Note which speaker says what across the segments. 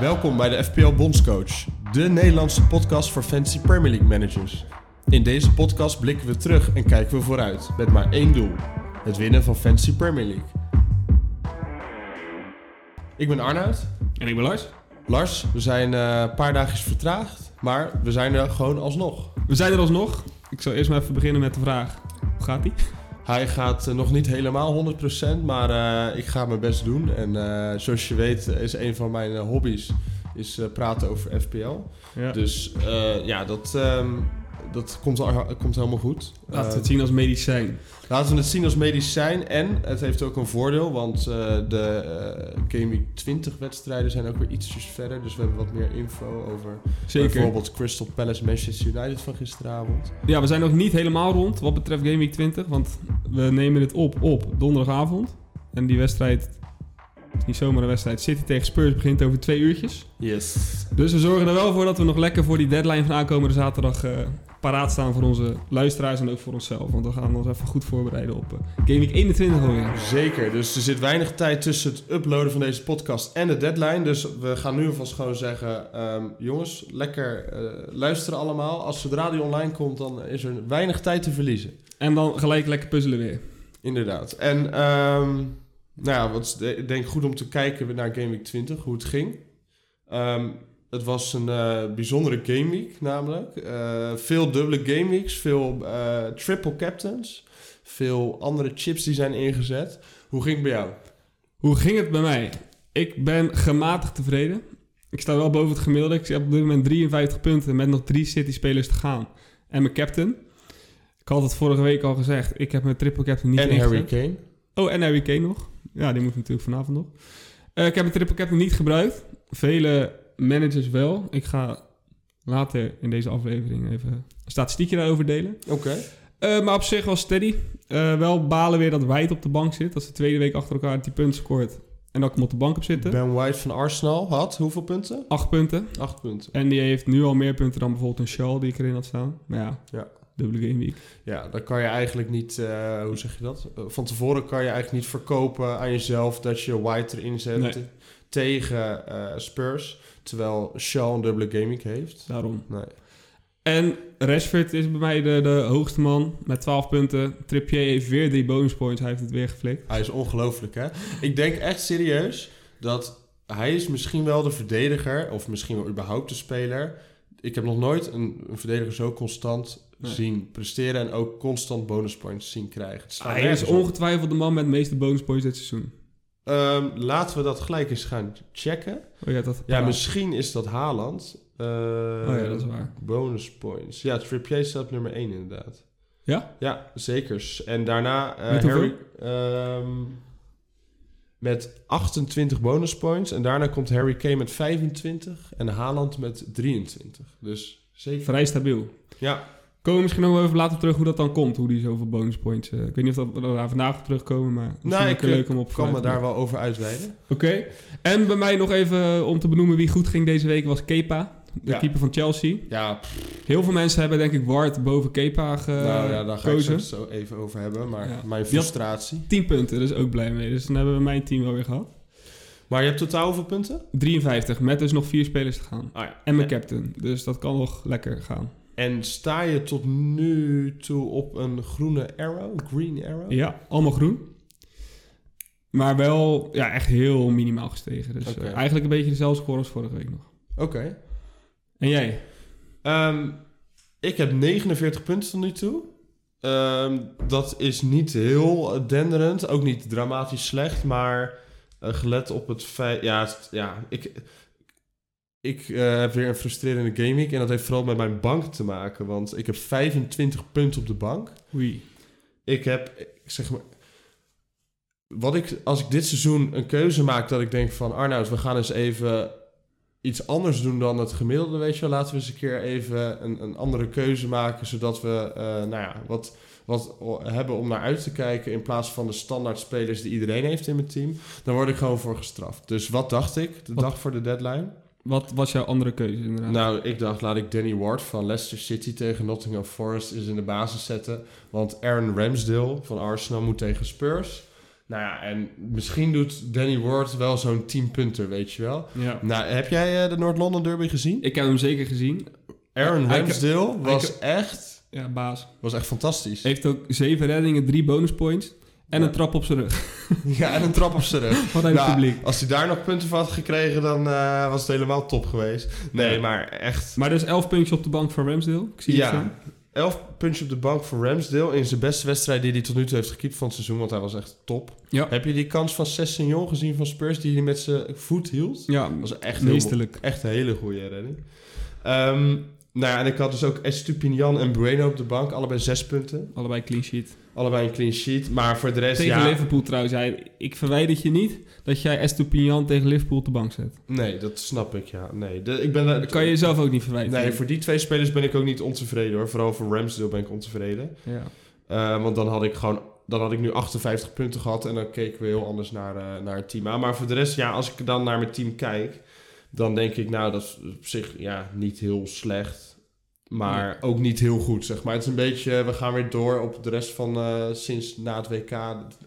Speaker 1: Welkom bij de FPL Bondscoach, de Nederlandse podcast voor Fantasy Premier League managers. In deze podcast blikken we terug en kijken we vooruit met maar één doel: het winnen van Fantasy Premier League. Ik ben Arnoud.
Speaker 2: En ik ben Lars.
Speaker 1: Lars, we zijn eh, een paar dagjes vertraagd, maar we zijn er gewoon alsnog.
Speaker 2: We zijn er alsnog. Ik zal eerst maar even beginnen met de vraag. Hoe gaat die?
Speaker 1: Hij gaat eh, nog niet helemaal 100%, maar eh, ik ga mijn best doen. En eh, zoals je weet eh, is een van mijn eh, hobby's is, eh, praten over FPL.
Speaker 2: Ja.
Speaker 1: Dus eh, ja, dat, ehm, dat komt, al- komt helemaal goed.
Speaker 2: Laten we
Speaker 1: Eh,
Speaker 2: het zien als medicijn.
Speaker 1: laten we het zien als medicijn. En het heeft ook een voordeel, want eh, de eh, Game Week 20 wedstrijden zijn ook weer ietsjes verder. Dus we hebben wat meer info over
Speaker 2: Zeker.
Speaker 1: bijvoorbeeld Crystal Palace Manchester United van gisteravond.
Speaker 2: Ja, we zijn nog niet helemaal rond wat betreft Game Week 20. Want we nemen dit op op donderdagavond. En die wedstrijd is niet zomaar een wedstrijd. City tegen Spurs begint over twee uurtjes.
Speaker 1: Yes.
Speaker 2: Dus we zorgen er wel voor dat we nog lekker voor die deadline van aankomende zaterdag eh, paraat staan voor onze luisteraars en ook voor onszelf. Want we gaan ons even goed voorbereiden op eh, Game Week 21 alweer.
Speaker 1: Zeker, dus er zit weinig tijd tussen het uploaden van deze podcast en de deadline. Dus we gaan nu alvast gewoon zeggen, ehm, jongens, lekker eh, luisteren allemaal. Als zodra die online komt, dan is er weinig tijd te verliezen.
Speaker 2: En dan gelijk lekker puzzelen weer.
Speaker 1: Inderdaad. En ehm, nou ja, wat is de- ik denk goed om te kijken naar Game Week 20, hoe het ging. Ehm, het was een eh, bijzondere Game Week namelijk. Eh, veel dubbele Game Weeks, veel eh, triple captains, veel andere chips die zijn ingezet. Hoe ging het bij jou?
Speaker 2: Hoe ging het bij mij? Ik ben gematigd tevreden. Ik sta wel boven het gemiddelde. Ik heb op dit moment 53 punten met nog drie City-spelers te gaan. En mijn captain. Ik had het vorige week al gezegd. Ik heb mijn triple captain niet
Speaker 1: en
Speaker 2: ingezet.
Speaker 1: Harry Kane.
Speaker 2: Oh, en Harry Kane nog. Ja, die moet natuurlijk vanavond nog. Eh, ik heb mijn triple captain niet gebruikt. Vele managers wel. Ik ga later in deze aflevering even een statistiekje daarover delen.
Speaker 1: Oké.
Speaker 2: Eh, maar op zich wel steady. Eh, wel balen weer dat White op de bank zit. Als de tweede week achter elkaar die punten scoort. En dat ik hem op de bank heb zitten.
Speaker 1: Ben White van Arsenal had hoeveel punten?
Speaker 2: Acht punten.
Speaker 1: Acht punten.
Speaker 2: En die heeft nu al meer punten dan bijvoorbeeld een Shaw die ik erin had staan. Maar ja,
Speaker 1: Ja.
Speaker 2: dubbele game week.
Speaker 1: Ja, dan kan je eigenlijk niet, eh, hoe zeg je dat? Eh, van tevoren kan je eigenlijk niet verkopen aan jezelf dat je White erin zet
Speaker 2: Nee.
Speaker 1: tegen eh, Spurs. Terwijl Shaw een dubbele gaming heeft.
Speaker 2: Daarom.
Speaker 1: Nee.
Speaker 2: En Rashford is bij mij de, de hoogste man met 12 punten. Trippier heeft weer drie bonus points. Hij heeft het weer geflikt.
Speaker 1: Hij is ongelooflijk, hè? Ik denk echt serieus dat hij is misschien wel de verdediger, of misschien wel überhaupt de speler. Ik heb nog nooit een, een verdediger zo constant
Speaker 2: Nee.
Speaker 1: zien presteren en ook constant bonuspoints zien krijgen. Het slaat
Speaker 2: Hij is
Speaker 1: Ah, nergens op.
Speaker 2: ongetwijfeld de man met de meeste bonus points dit seizoen.
Speaker 1: Ehm, laten we dat gelijk eens gaan checken.
Speaker 2: Oh ja, dat
Speaker 1: Ja, misschien is dat Haaland. Eh,
Speaker 2: Oh ja, dat is waar.
Speaker 1: Bonus points. Ja, Trippier staat op nummer 1 inderdaad.
Speaker 2: Ja?
Speaker 1: Ja, zeker. En daarna eh,
Speaker 2: Met hoeveel?
Speaker 1: Harry... ehm, met 28 bonus points. En daarna komt Harry Kane met 25 en Haaland met 23. Dus zeker.
Speaker 2: vrij stabiel.
Speaker 1: Ja,
Speaker 2: Komen we misschien nog wel even later op terug hoe dat dan komt, hoe die zoveel bonus points. eh, ik weet niet of dat, we daar vandaag op terugkomen, maar misschien
Speaker 1: Nou,
Speaker 2: ook
Speaker 1: ik,
Speaker 2: weer
Speaker 1: eh,
Speaker 2: leuk om op
Speaker 1: kan
Speaker 2: vooruit
Speaker 1: me
Speaker 2: te
Speaker 1: daar wel over uitweiden.
Speaker 2: Oké. En bij mij nog even om te benoemen wie goed ging deze week was Kepa, de
Speaker 1: Ja.
Speaker 2: keeper van Chelsea.
Speaker 1: Ja, pff,
Speaker 2: Heel veel mensen hebben denk ik Ward boven Kepa
Speaker 1: nou ja, daar ga ik
Speaker 2: gekozen.
Speaker 1: het zo even over hebben. Maar
Speaker 2: Eh, Ja.
Speaker 1: mijn
Speaker 2: Die had-
Speaker 1: frustratie.
Speaker 2: 10 punten, dus ook blij mee. Dus dan hebben we mijn team wel weer gehad.
Speaker 1: Maar je hebt totaal hoeveel punten?
Speaker 2: 53, met dus nog vier spelers te gaan.
Speaker 1: Ah, ja.
Speaker 2: En mijn captain, dus dat kan nog lekker gaan.
Speaker 1: En sta je tot nu toe op een groene arrow? Green arrow?
Speaker 2: Ja, allemaal groen. Maar wel ja, echt heel minimaal gestegen. Dus eh,
Speaker 1: Oké.
Speaker 2: eigenlijk een beetje dezelfde score als vorige week nog.
Speaker 1: Oké.
Speaker 2: En jij?
Speaker 1: Ehm, ik heb 49 punten tot nu toe. Ehm, dat is niet heel eh, denderend, ook niet dramatisch slecht, maar eh, gelet op het feit... Ja, het- ja ik, ik eh, heb weer een frustrerende gaming en dat heeft vooral met mijn bank te maken, want ik heb 25 punten op de bank.
Speaker 2: Oei.
Speaker 1: ik heb, ik zeg maar. Wat ik, als ik dit seizoen een keuze maak dat ik denk van Arnoud, we gaan eens even iets anders doen dan het gemiddelde, weet je wel. Laten we eens een keer even een, een andere keuze maken, zodat we, eh, nou ja, wat, wat o- hebben om naar uit te kijken in plaats van de standaard spelers die iedereen heeft in mijn team. Dan word ik gewoon voor gestraft. Dus wat dacht ik de
Speaker 2: Wat-
Speaker 1: dag voor de deadline?
Speaker 2: Wat was jouw andere keuze inderdaad?
Speaker 1: Nou, ik dacht, laat ik Danny Ward van Leicester City tegen Nottingham Forest eens in de basis zetten. Want Aaron Ramsdale van Arsenal moet tegen Spurs. Nou ja, en misschien doet Danny Ward wel zo'n 10-punter, weet je wel.
Speaker 2: Ja.
Speaker 1: Nou, heb jij eh, de Noord-London Derby gezien?
Speaker 2: Ik heb hem zeker gezien.
Speaker 1: Aaron
Speaker 2: Hij-
Speaker 1: Ramsdale was, echt,
Speaker 2: Ja, baas.
Speaker 1: was echt fantastisch.
Speaker 2: Heeft ook zeven reddingen, drie bonuspoints. En
Speaker 1: Ja.
Speaker 2: een trap op zijn rug.
Speaker 1: Ja, en een trap op zijn rug.
Speaker 2: Wat een
Speaker 1: Nou,
Speaker 2: publiek.
Speaker 1: Als hij daar nog punten van had gekregen, dan eh, was het helemaal top geweest. Nee,
Speaker 2: Ja.
Speaker 1: maar echt.
Speaker 2: Maar er is elf puntjes op de bank voor Ramsdale. Ik zie het
Speaker 1: Ja,
Speaker 2: staan.
Speaker 1: 11 puntjes op de bank voor Ramsdale in zijn beste wedstrijd die hij tot nu toe heeft gekiept van het seizoen, want hij was echt top.
Speaker 2: Ja.
Speaker 1: Heb je die kans van Sessignon gezien van Spurs die hij met zijn voet hield?
Speaker 2: Ja,
Speaker 1: Dat was echt, heel, mo-
Speaker 2: meesterlijk.
Speaker 1: echt een hele goede redding. Ehm, nou ja, en ik had dus ook Estupinian en Bueno op de bank, allebei zes punten.
Speaker 2: Allebei clean sheet.
Speaker 1: Allebei een clean sheet, maar voor de rest,
Speaker 2: Tegen
Speaker 1: ja...
Speaker 2: Liverpool trouwens. Hij, ik verwijder je niet dat jij Estupiñan tegen Liverpool op de bank zet.
Speaker 1: Nee, dat snap ik, ja. Nee, de- ik ben... daar-
Speaker 2: Dat kan je jezelf ook niet verwijten.
Speaker 1: Nee, voor die twee spelers ben ik ook niet ontevreden hoor. Vooral voor Ramsdale ben ik ontevreden.
Speaker 2: ja.
Speaker 1: Eh, want dan had ik gewoon. Dan had ik nu 58 punten gehad en dan keken we heel anders naar, eh, naar het team aan. Maar voor de rest, ja, als ik dan naar mijn team kijk, dan denk ik, nou, dat is op zich ja, niet heel slecht. Maar ook niet heel goed, zeg maar. Het is een beetje, eh, we gaan weer door op de rest van eh, sinds na het WK.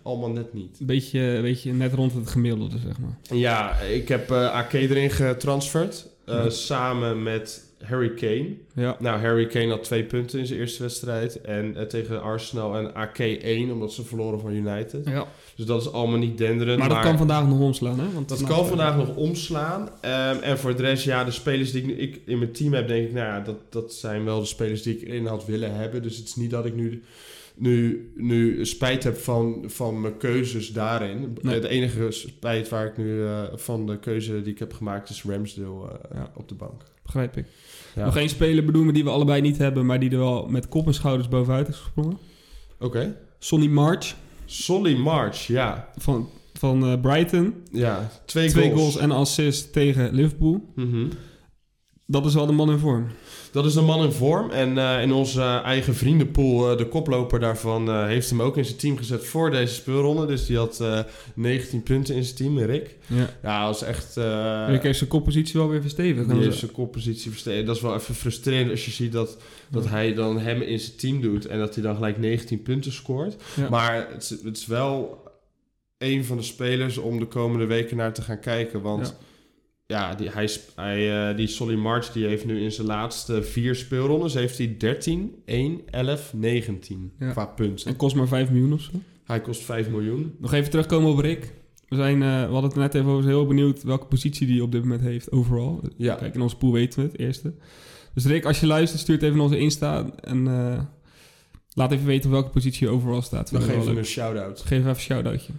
Speaker 1: Allemaal net niet.
Speaker 2: Een beetje, een beetje net rond het gemiddelde, zeg maar.
Speaker 1: Ja, ik heb eh AK erin getransferd. eh,
Speaker 2: Ja.
Speaker 1: Samen met Harry Kane.
Speaker 2: Ja.
Speaker 1: Nou, Harry Kane had twee punten in zijn eerste wedstrijd. En eh, tegen Arsenal en AK 1, omdat ze verloren van United.
Speaker 2: ja.
Speaker 1: Dus dat is allemaal niet denderend.
Speaker 2: Maar dat kan vandaag nog omslaan, hè? Want
Speaker 1: dat
Speaker 2: nou,
Speaker 1: kan vandaag nog omslaan. Ehm, en voor de rest, ja, de spelers die ik, nu- ik in mijn team heb, denk ik, nou ja, dat, dat zijn wel de spelers die ik erin had willen hebben. Dus het is niet dat ik nu, nu, nu spijt heb van, van mijn keuzes daarin.
Speaker 2: Nee.
Speaker 1: Het enige spijt waar ik nu eh, van de keuze die ik heb gemaakt is Ramsdale eh,
Speaker 2: Ja.
Speaker 1: op de bank.
Speaker 2: Begrijp ik.
Speaker 1: Ja.
Speaker 2: Nog één speler bedoelen die we allebei niet hebben, maar die er wel met kop en schouders bovenuit is gesprongen.
Speaker 1: Oké.
Speaker 2: Sonny March
Speaker 1: Solly March, ja.
Speaker 2: van, van eh, Brighton.
Speaker 1: Ja, twee,
Speaker 2: Twee
Speaker 1: goals.
Speaker 2: goals. en assist tegen Liverpool.
Speaker 1: Mhm.
Speaker 2: Dat is wel de man in vorm.
Speaker 1: Dat is een man in vorm. En eh, in onze eh, eigen vriendenpool, eh, de koploper daarvan, eh, heeft hem ook in zijn team gezet voor deze speelronde. Dus die had eh, 19 punten in zijn team, Rick.
Speaker 2: Ja.
Speaker 1: Ja, dat is echt... eh,
Speaker 2: ik heeft zijn koppositie wel weer verstevigd.
Speaker 1: die
Speaker 2: En
Speaker 1: heeft zijn koppositie versterkt. Dat is wel even frustrerend als je ziet dat, dat
Speaker 2: Ja.
Speaker 1: hij dan hem in zijn team doet. En dat hij dan gelijk 19 punten scoort.
Speaker 2: Ja.
Speaker 1: Maar het, is- het is wel een van de spelers om de komende weken naar te gaan kijken. Want ja, die, hij, sp- hij, eh, die Solly March die heeft nu in zijn laatste vier speelrondes... heeft hij 13, 1, 11, 19
Speaker 2: Ja.
Speaker 1: qua punten.
Speaker 2: en kost maar 5 miljoen of zo.
Speaker 1: Hij kost 5 miljoen.
Speaker 2: Nog even terugkomen op Rick. We, zijn, eh, we hadden het net even over. Heel benieuwd welke positie die op dit moment heeft overal.
Speaker 1: Ja.
Speaker 2: Kijk, in onze pool weten we het, eerste. Dus Rick, als je luistert, stuurt even naar onze Insta. En eh, laat even weten op welke positie je overal staat.
Speaker 1: Dan
Speaker 2: Vinden we
Speaker 1: geven we
Speaker 2: wel
Speaker 1: een shout-out.
Speaker 2: leuk. Geef even een shout-outje.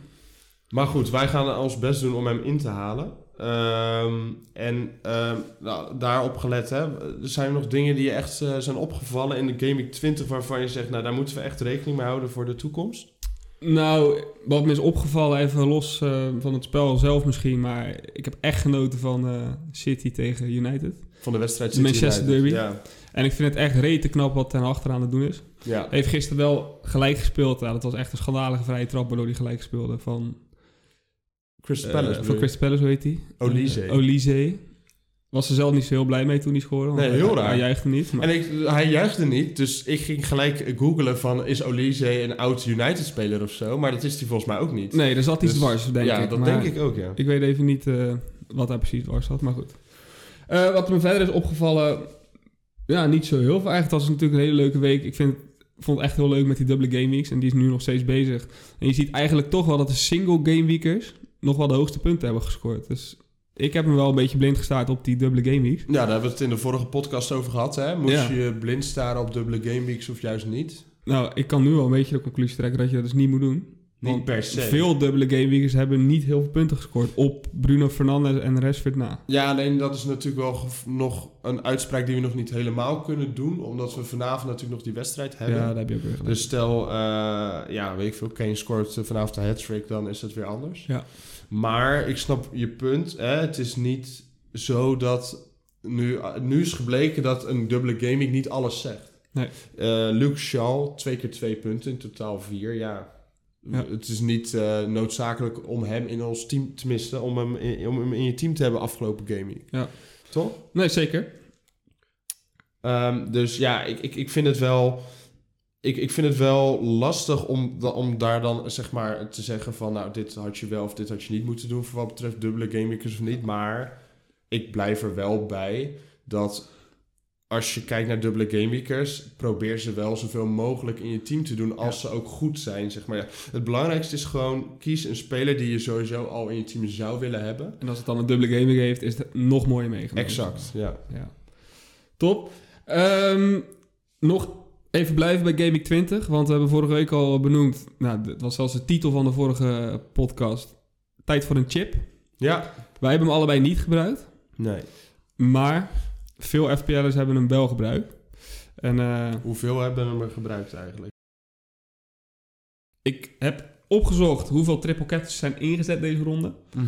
Speaker 1: Maar goed, wij gaan ons best doen om hem in te halen. Ehm, en ehm, nou, daarop gelet, hè, er zijn nog dingen die je echt eh, zijn opgevallen in de Game Week 20 waarvan je zegt, nou daar moeten we echt rekening mee houden voor de toekomst.
Speaker 2: Nou, wat me is opgevallen, even los eh, van het spel zelf misschien. Maar ik heb echt genoten van eh, City tegen United.
Speaker 1: Van de wedstrijd
Speaker 2: De Manchester
Speaker 1: United.
Speaker 2: derby.
Speaker 1: Ja,
Speaker 2: En ik vind het echt rete knap wat ten achteraan aan het doen is.
Speaker 1: ja.
Speaker 2: Hij heeft gisteren wel gelijk gespeeld. Ja, dat was echt een schandalige vrije trap waardoor hij gelijk speelde. Van,
Speaker 1: Crystal
Speaker 2: eh,
Speaker 1: Palace.
Speaker 2: van Crystal Palace, hoe heet hij? Eh,
Speaker 1: Olise.
Speaker 2: Olise. Was er zelf niet zo heel blij mee toen hij scoorde. want
Speaker 1: Nee,
Speaker 2: hij-
Speaker 1: heel raar.
Speaker 2: Hij juichte niet. Maar
Speaker 1: en ik, hij juichte niet, dus ik ging gelijk googlen van is Olise een oud United-speler of zo? Maar dat is hij volgens mij ook niet.
Speaker 2: nee, er zat iets
Speaker 1: Dus-
Speaker 2: dwars, denk
Speaker 1: ja,
Speaker 2: ik.
Speaker 1: dat
Speaker 2: maar
Speaker 1: denk ik ook, ja.
Speaker 2: Ik weet even niet eh, wat daar precies dwars zat, maar goed. Eh, wat me verder is opgevallen, ja, niet zo heel veel. Eigenlijk was het natuurlijk een hele leuke week. Ik vind, vond het echt heel leuk met die dubbele game weeks en die is nu nog steeds bezig. En je ziet eigenlijk toch wel dat de single game weekers nog wel de hoogste punten hebben gescoord. Dus ik heb me wel een beetje blind gestaard op die dubbele game weeks.
Speaker 1: Ja, daar hebben we het in de vorige podcast over gehad, hè. Moest
Speaker 2: Ja.
Speaker 1: je blind staren op dubbele gameweeks of juist niet?
Speaker 2: Nou, ik kan nu wel een beetje de conclusie trekken dat je dat dus niet moet doen.
Speaker 1: Niet
Speaker 2: Want
Speaker 1: per se.
Speaker 2: Veel dubbele game weekers hebben niet heel veel punten gescoord op Bruno Fernandes en Rashford na.
Speaker 1: Ja, alleen dat is natuurlijk wel gev- nog een uitspraak die we nog niet helemaal kunnen doen. Omdat we vanavond natuurlijk nog die wedstrijd hebben.
Speaker 2: Ja, dat heb je ook weer gedaan.
Speaker 1: dus stel, eh, ja, weet ik veel, Kane scoort eh, vanavond de hat-trick, dan is het weer anders.
Speaker 2: Ja.
Speaker 1: Maar ik snap je punt. Hè? Het is niet zo dat... Nu, nu is gebleken dat een dubbele gaming niet alles zegt.
Speaker 2: Nee.
Speaker 1: Eh, Luke Shaw, twee keer twee punten, in totaal vier. Ja,
Speaker 2: Ja.
Speaker 1: het is niet eh, noodzakelijk om hem in ons team, tenminste, om hem in, om hem in je team te hebben afgelopen gaming.
Speaker 2: Ja.
Speaker 1: Toch?
Speaker 2: Nee, zeker.
Speaker 1: Ehm, dus ja, ik, ik, ik vind het wel. ik, ik vind het wel lastig om, da- om daar dan zeg maar te zeggen van... nou, dit had je wel of dit had je niet moeten doen... voor wat betreft dubbele gameweekers of niet. Maar ik blijf er wel bij dat als je kijkt naar dubbele gameweekers... probeer ze wel zoveel mogelijk in je team te doen... als ze ook goed zijn, zeg maar. Ja, het belangrijkste is gewoon... kies een speler die je sowieso al in je team zou willen hebben.
Speaker 2: En als het dan een dubbele gaming heeft, is het nog mooier meegenomen.
Speaker 1: Exact, ja.
Speaker 2: Ja. Top. Ehm, nog even blijven bij Gaming 20, want we hebben vorige week al benoemd, nou, dat was zelfs de titel van de vorige podcast, Tijd voor een chip.
Speaker 1: Ja,
Speaker 2: Wij hebben hem allebei niet gebruikt,
Speaker 1: nee.
Speaker 2: maar veel FPL'ers hebben hem wel gebruikt. En eh,
Speaker 1: Hoeveel hebben we hem gebruikt eigenlijk?
Speaker 2: ik heb opgezocht hoeveel triple captures zijn ingezet deze ronde.
Speaker 1: Mhm.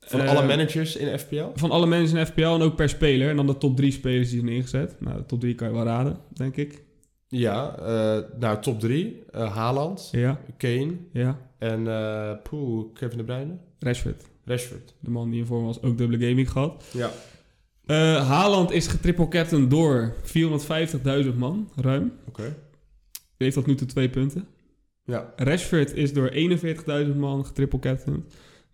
Speaker 1: Van
Speaker 2: Eh,
Speaker 1: alle managers in FPL?
Speaker 2: Van alle mensen in FPL en ook per speler. En dan de top drie spelers die zijn ingezet. Nou, de top drie kan je wel raden, denk ik.
Speaker 1: Ja, eh, nou top 3. Haaland,
Speaker 2: Ja,
Speaker 1: Kane
Speaker 2: ja.
Speaker 1: en eh, poeh, Kevin De Bruyne.
Speaker 2: Rashford.
Speaker 1: Rashford.
Speaker 2: De man die in vorm was, ook dubbele gaming gehad.
Speaker 1: Ja.
Speaker 2: Eh, Haaland is getriple captain door 450.000 man, ruim.
Speaker 1: Oké.
Speaker 2: Die heeft tot nu toe twee punten.
Speaker 1: Ja.
Speaker 2: Rashford is door 41.000 man getriple captain.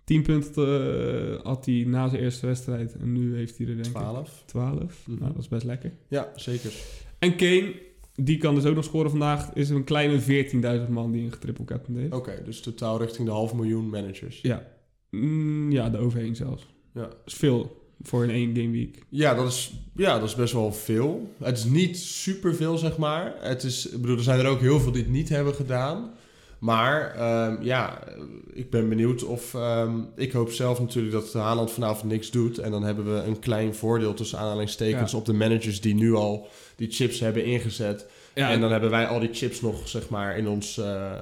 Speaker 2: 10 punten eh, had hij na zijn eerste wedstrijd. En nu heeft hij er denk ik
Speaker 1: 12.
Speaker 2: 12.
Speaker 1: Mhm.
Speaker 2: Nou, dat is best lekker.
Speaker 1: Ja, zeker.
Speaker 2: En Kane, die kan dus ook nog scoren vandaag. Is een kleine 14.000 man die een getriple captain heeft.
Speaker 1: Oké, dus totaal richting de half miljoen managers.
Speaker 2: Mm, ja, de overheen zelfs.
Speaker 1: Ja.
Speaker 2: Dat is veel voor in één game week.
Speaker 1: Ja, dat is, ja, dat is best wel veel. Het is niet superveel, zeg maar. Het is, ik bedoel, er zijn er ook heel veel die het niet hebben gedaan. Maar ehm, ja, ik ben benieuwd of... ehm, ik hoop zelf natuurlijk dat Haaland vanavond niks doet. En dan hebben we een klein voordeel tussen aanhalingstekens... op de managers die nu al die chips hebben ingezet.
Speaker 2: Ja,
Speaker 1: en dan hebben wij al die chips nog, zeg maar, in ons... eh,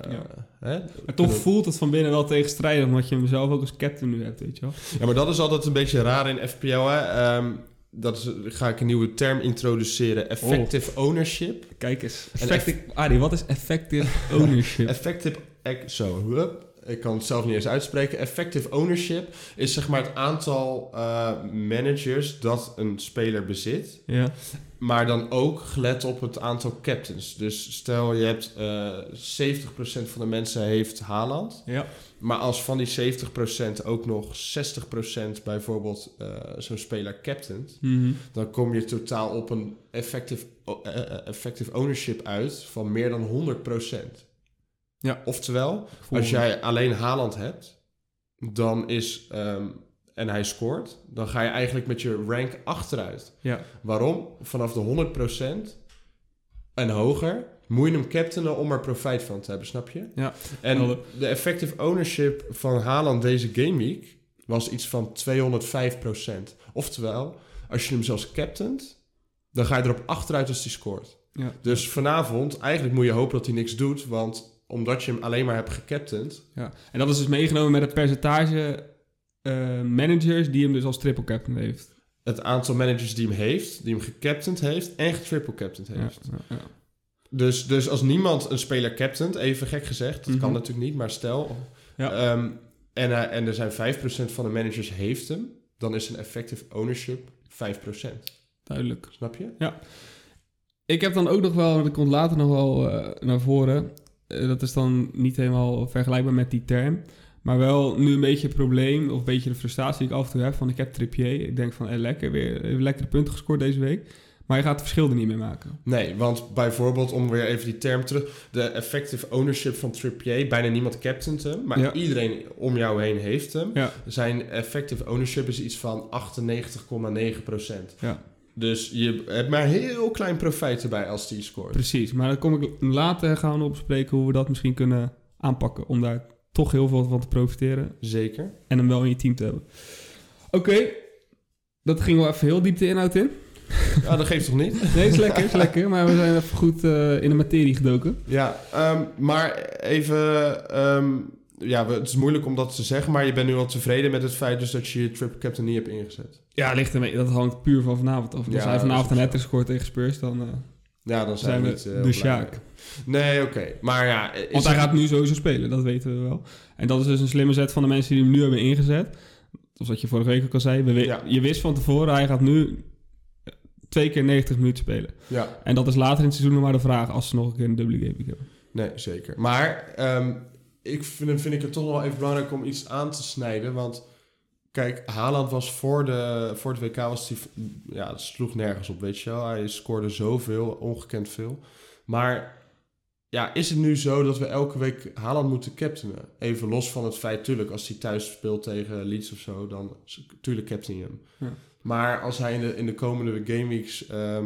Speaker 1: hè?
Speaker 2: Maar toch voelt het van binnen wel tegenstrijdig, omdat je hem zelf ook als captain nu hebt, weet je wel.
Speaker 1: Ja, maar dat is altijd een beetje raar in FPL. Hè? Ehm, dat is, ga ik een nieuwe term introduceren. Effective ownership.
Speaker 2: Kijk eens.
Speaker 1: Effective-
Speaker 2: Effective, Arie, wat is effective ownership?
Speaker 1: Effective... ec- Zo, hup. Ik kan het zelf niet eens uitspreken. Effective ownership is zeg maar het aantal eh, managers dat een speler bezit.
Speaker 2: ja.
Speaker 1: Maar dan ook gelet op het aantal captains. Dus stel je hebt eh 70% van de mensen heeft Haaland.
Speaker 2: ja.
Speaker 1: Maar als van die 70% ook nog 60% bijvoorbeeld eh, zo'n speler captaint,
Speaker 2: Mhm.
Speaker 1: dan kom je totaal op een effective, o- eh, eh, effective ownership uit van meer dan 100%.
Speaker 2: Ja.
Speaker 1: Oftewel, als jij alleen Haaland hebt, dan is, ehm, en hij scoort, dan ga je eigenlijk met je rank achteruit.
Speaker 2: Ja.
Speaker 1: Waarom? Vanaf de 100% en hoger moet je hem captainen om er profijt van te hebben, snap je?
Speaker 2: Ja.
Speaker 1: En
Speaker 2: Helder.
Speaker 1: de effective ownership van Haaland deze gameweek was iets van 205%. Oftewel, als je hem zelfs captaint, dan ga je erop achteruit als hij scoort.
Speaker 2: Ja.
Speaker 1: Dus vanavond, eigenlijk moet je hopen dat hij niks doet, want omdat je hem alleen maar hebt gecaptained.
Speaker 2: ja. En dat is dus meegenomen met het percentage eh, managers die hem dus als triple captain heeft.
Speaker 1: Het aantal managers die hem heeft, die hem gecaptained heeft en getriple captained
Speaker 2: Ja,
Speaker 1: heeft.
Speaker 2: ja, ja.
Speaker 1: Dus, dus als niemand een speler captaint, even gek gezegd, dat kan
Speaker 2: Mhm.
Speaker 1: natuurlijk niet, maar stel.
Speaker 2: Ja.
Speaker 1: ehm, en, eh, en er zijn 5% van de managers heeft hem, dan is een effective ownership 5%.
Speaker 2: Duidelijk.
Speaker 1: Snap je?
Speaker 2: Ik heb dan ook nog wel, dat komt later nog wel eh, naar voren. Eh, dat is dan niet helemaal vergelijkbaar met die term. Maar wel nu een beetje het probleem, of een beetje de frustratie die ik af en toe heb. Van ik heb Trippier, ik denk van eh, lekker, weer even lekkere punten gescoord deze week. Maar je gaat het verschil er niet meer maken.
Speaker 1: Nee, want bijvoorbeeld, om weer even die term terug... de effective ownership van Trippier, bijna niemand captaint hem... maar
Speaker 2: Ja.
Speaker 1: iedereen om jou heen heeft hem.
Speaker 2: Ja.
Speaker 1: Zijn effective ownership is iets van 98,9
Speaker 2: Ja.
Speaker 1: Dus je hebt maar heel klein profijt erbij als die scoort.
Speaker 2: Precies, maar dan kom ik later gaan we opspreken hoe we dat misschien kunnen aanpakken. Om daar toch heel veel van te profiteren
Speaker 1: Zeker.
Speaker 2: en hem wel in je team te hebben. Oké, dat ging wel even heel diep de inhoud in.
Speaker 1: Ja, dat geeft toch niet?
Speaker 2: Nee, is lekker, is lekker. Maar we zijn even goed eh, in de materie gedoken.
Speaker 1: Ja, ehm, maar even... ehm, ja, we- het is moeilijk om dat te zeggen... maar je bent nu al tevreden met het feit dus dat je je trip captain niet hebt ingezet.
Speaker 2: Ja, ligt ermee. Dat hangt puur van vanavond af. Als
Speaker 1: Ja,
Speaker 2: hij
Speaker 1: dat is
Speaker 2: vanavond
Speaker 1: ook
Speaker 2: een
Speaker 1: zo.
Speaker 2: hat scoort tegen Spurs, dan eh,
Speaker 1: Ja, dan zijn,
Speaker 2: zijn we
Speaker 1: niet, eh,
Speaker 2: de
Speaker 1: blij mee.
Speaker 2: Sjaak.
Speaker 1: Nee, oké. Maar ja... eh, is
Speaker 2: Want hij
Speaker 1: het-
Speaker 2: gaat nu sowieso spelen, dat weten we wel. En dat is dus een slimme zet van de mensen die hem nu hebben ingezet. Zoals wat je vorige week ook al zei. we we-
Speaker 1: Ja.
Speaker 2: Je wist van tevoren, hij gaat nu eh, twee keer 90 minuten spelen.
Speaker 1: Ja,
Speaker 2: En dat is later in het seizoen nog maar de vraag als ze nog een keer een dubbele game hebben.
Speaker 1: nee, zeker. Maar ehm, ik vind, vind ik het toch wel even belangrijk om iets aan te snijden. Want kijk, Haaland was voor, de, voor het WK, was die, ja, het sloeg nergens op, weet je wel. Hij scoorde zoveel, ongekend veel. Maar ja, is het nu zo dat we elke week Haaland moeten captainen? Even los van het feit, tuurlijk, als hij thuis speelt tegen Leeds of zo, dan is- tuurlijk captain je hem.
Speaker 2: Ja.
Speaker 1: Maar als hij in de, in de komende gameweeks ehm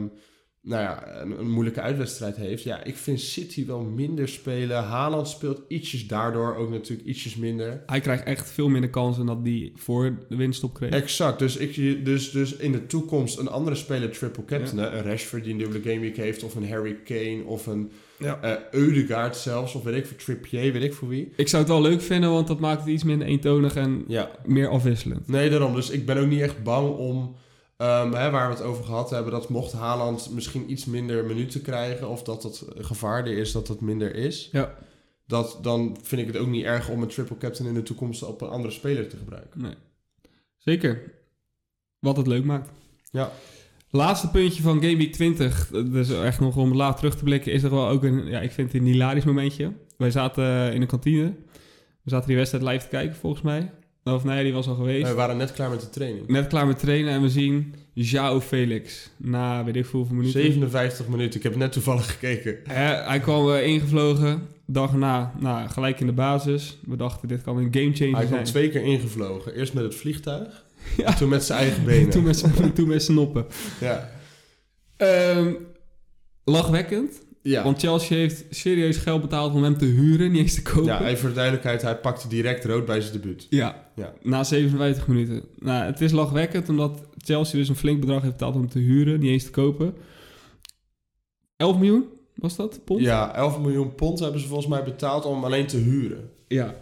Speaker 1: nou ja, een, een moeilijke uitwedstrijd heeft, ja, ik vind City wel minder spelen. Haaland speelt ietsjes daardoor ook natuurlijk ietsjes minder.
Speaker 2: Hij krijgt echt veel minder kansen dan die voor de winststop kreeg.
Speaker 1: Exact. Dus, ik, dus, dus in de toekomst een andere speler triple captainen. Een Rashford die een dubbele gameweek heeft. Of een Harry Kane. Of een
Speaker 2: Ja.
Speaker 1: eh Eudegaard zelfs. Of weet ik voor Trippier. Weet ik voor wie.
Speaker 2: Ik zou het wel leuk vinden, want dat maakt het iets minder eentonig en
Speaker 1: Ja.
Speaker 2: meer afwisselend.
Speaker 1: Nee, daarom. Dus ik ben ook niet echt bang om... ehm, hè, waar we het over gehad hebben. Dat mocht Haaland misschien iets minder minuten krijgen. Of dat het gevaarder is dat het minder is.
Speaker 2: Ja.
Speaker 1: Dat, dan vind ik het ook niet erg om een triple captain in de toekomst op een andere speler te gebruiken.
Speaker 2: Nee. Zeker. Wat het leuk maakt.
Speaker 1: Ja.
Speaker 2: Laatste puntje van Game Week 20. Dus echt nog om laat terug te blikken. Is er wel ook een, ja, ik vind het een hilarisch momentje. Wij zaten eh, in een kantine. We zaten die wedstrijd live te kijken volgens mij. Nou, Of nee, die was al geweest.
Speaker 1: We waren net klaar met de training.
Speaker 2: Net klaar met trainen en we zien Jao Felix. Na weet ik veel hoeveel minuten.
Speaker 1: 57 minuten. Ik heb net toevallig gekeken.
Speaker 2: Hè, hij kwam eh, ingevlogen. Dag na, nou, gelijk in de basis. We dachten, dit kan een gamechanger
Speaker 1: Hij
Speaker 2: zijn.
Speaker 1: kwam twee keer ingevlogen. Eerst met het vliegtuig,
Speaker 2: Ja.
Speaker 1: en toen met zijn eigen benen.
Speaker 2: toen, met z'n- toen met zijn noppen.
Speaker 1: Ja.
Speaker 2: Ehm, lachwekkend.
Speaker 1: Ja.
Speaker 2: Want Chelsea heeft serieus geld betaald om hem te huren, niet eens te kopen.
Speaker 1: ja, even voor de duidelijkheid, hij pakte direct rood bij zijn debuut.
Speaker 2: Ja,
Speaker 1: Ja.
Speaker 2: na 57 minuten. Nou, het is lachwekkend omdat Chelsea dus een flink bedrag heeft betaald om hem te huren, niet eens te kopen. 11 miljoen was dat, pond?
Speaker 1: Ja, 11 miljoen pond hebben ze volgens mij betaald om hem alleen te huren.
Speaker 2: Ja.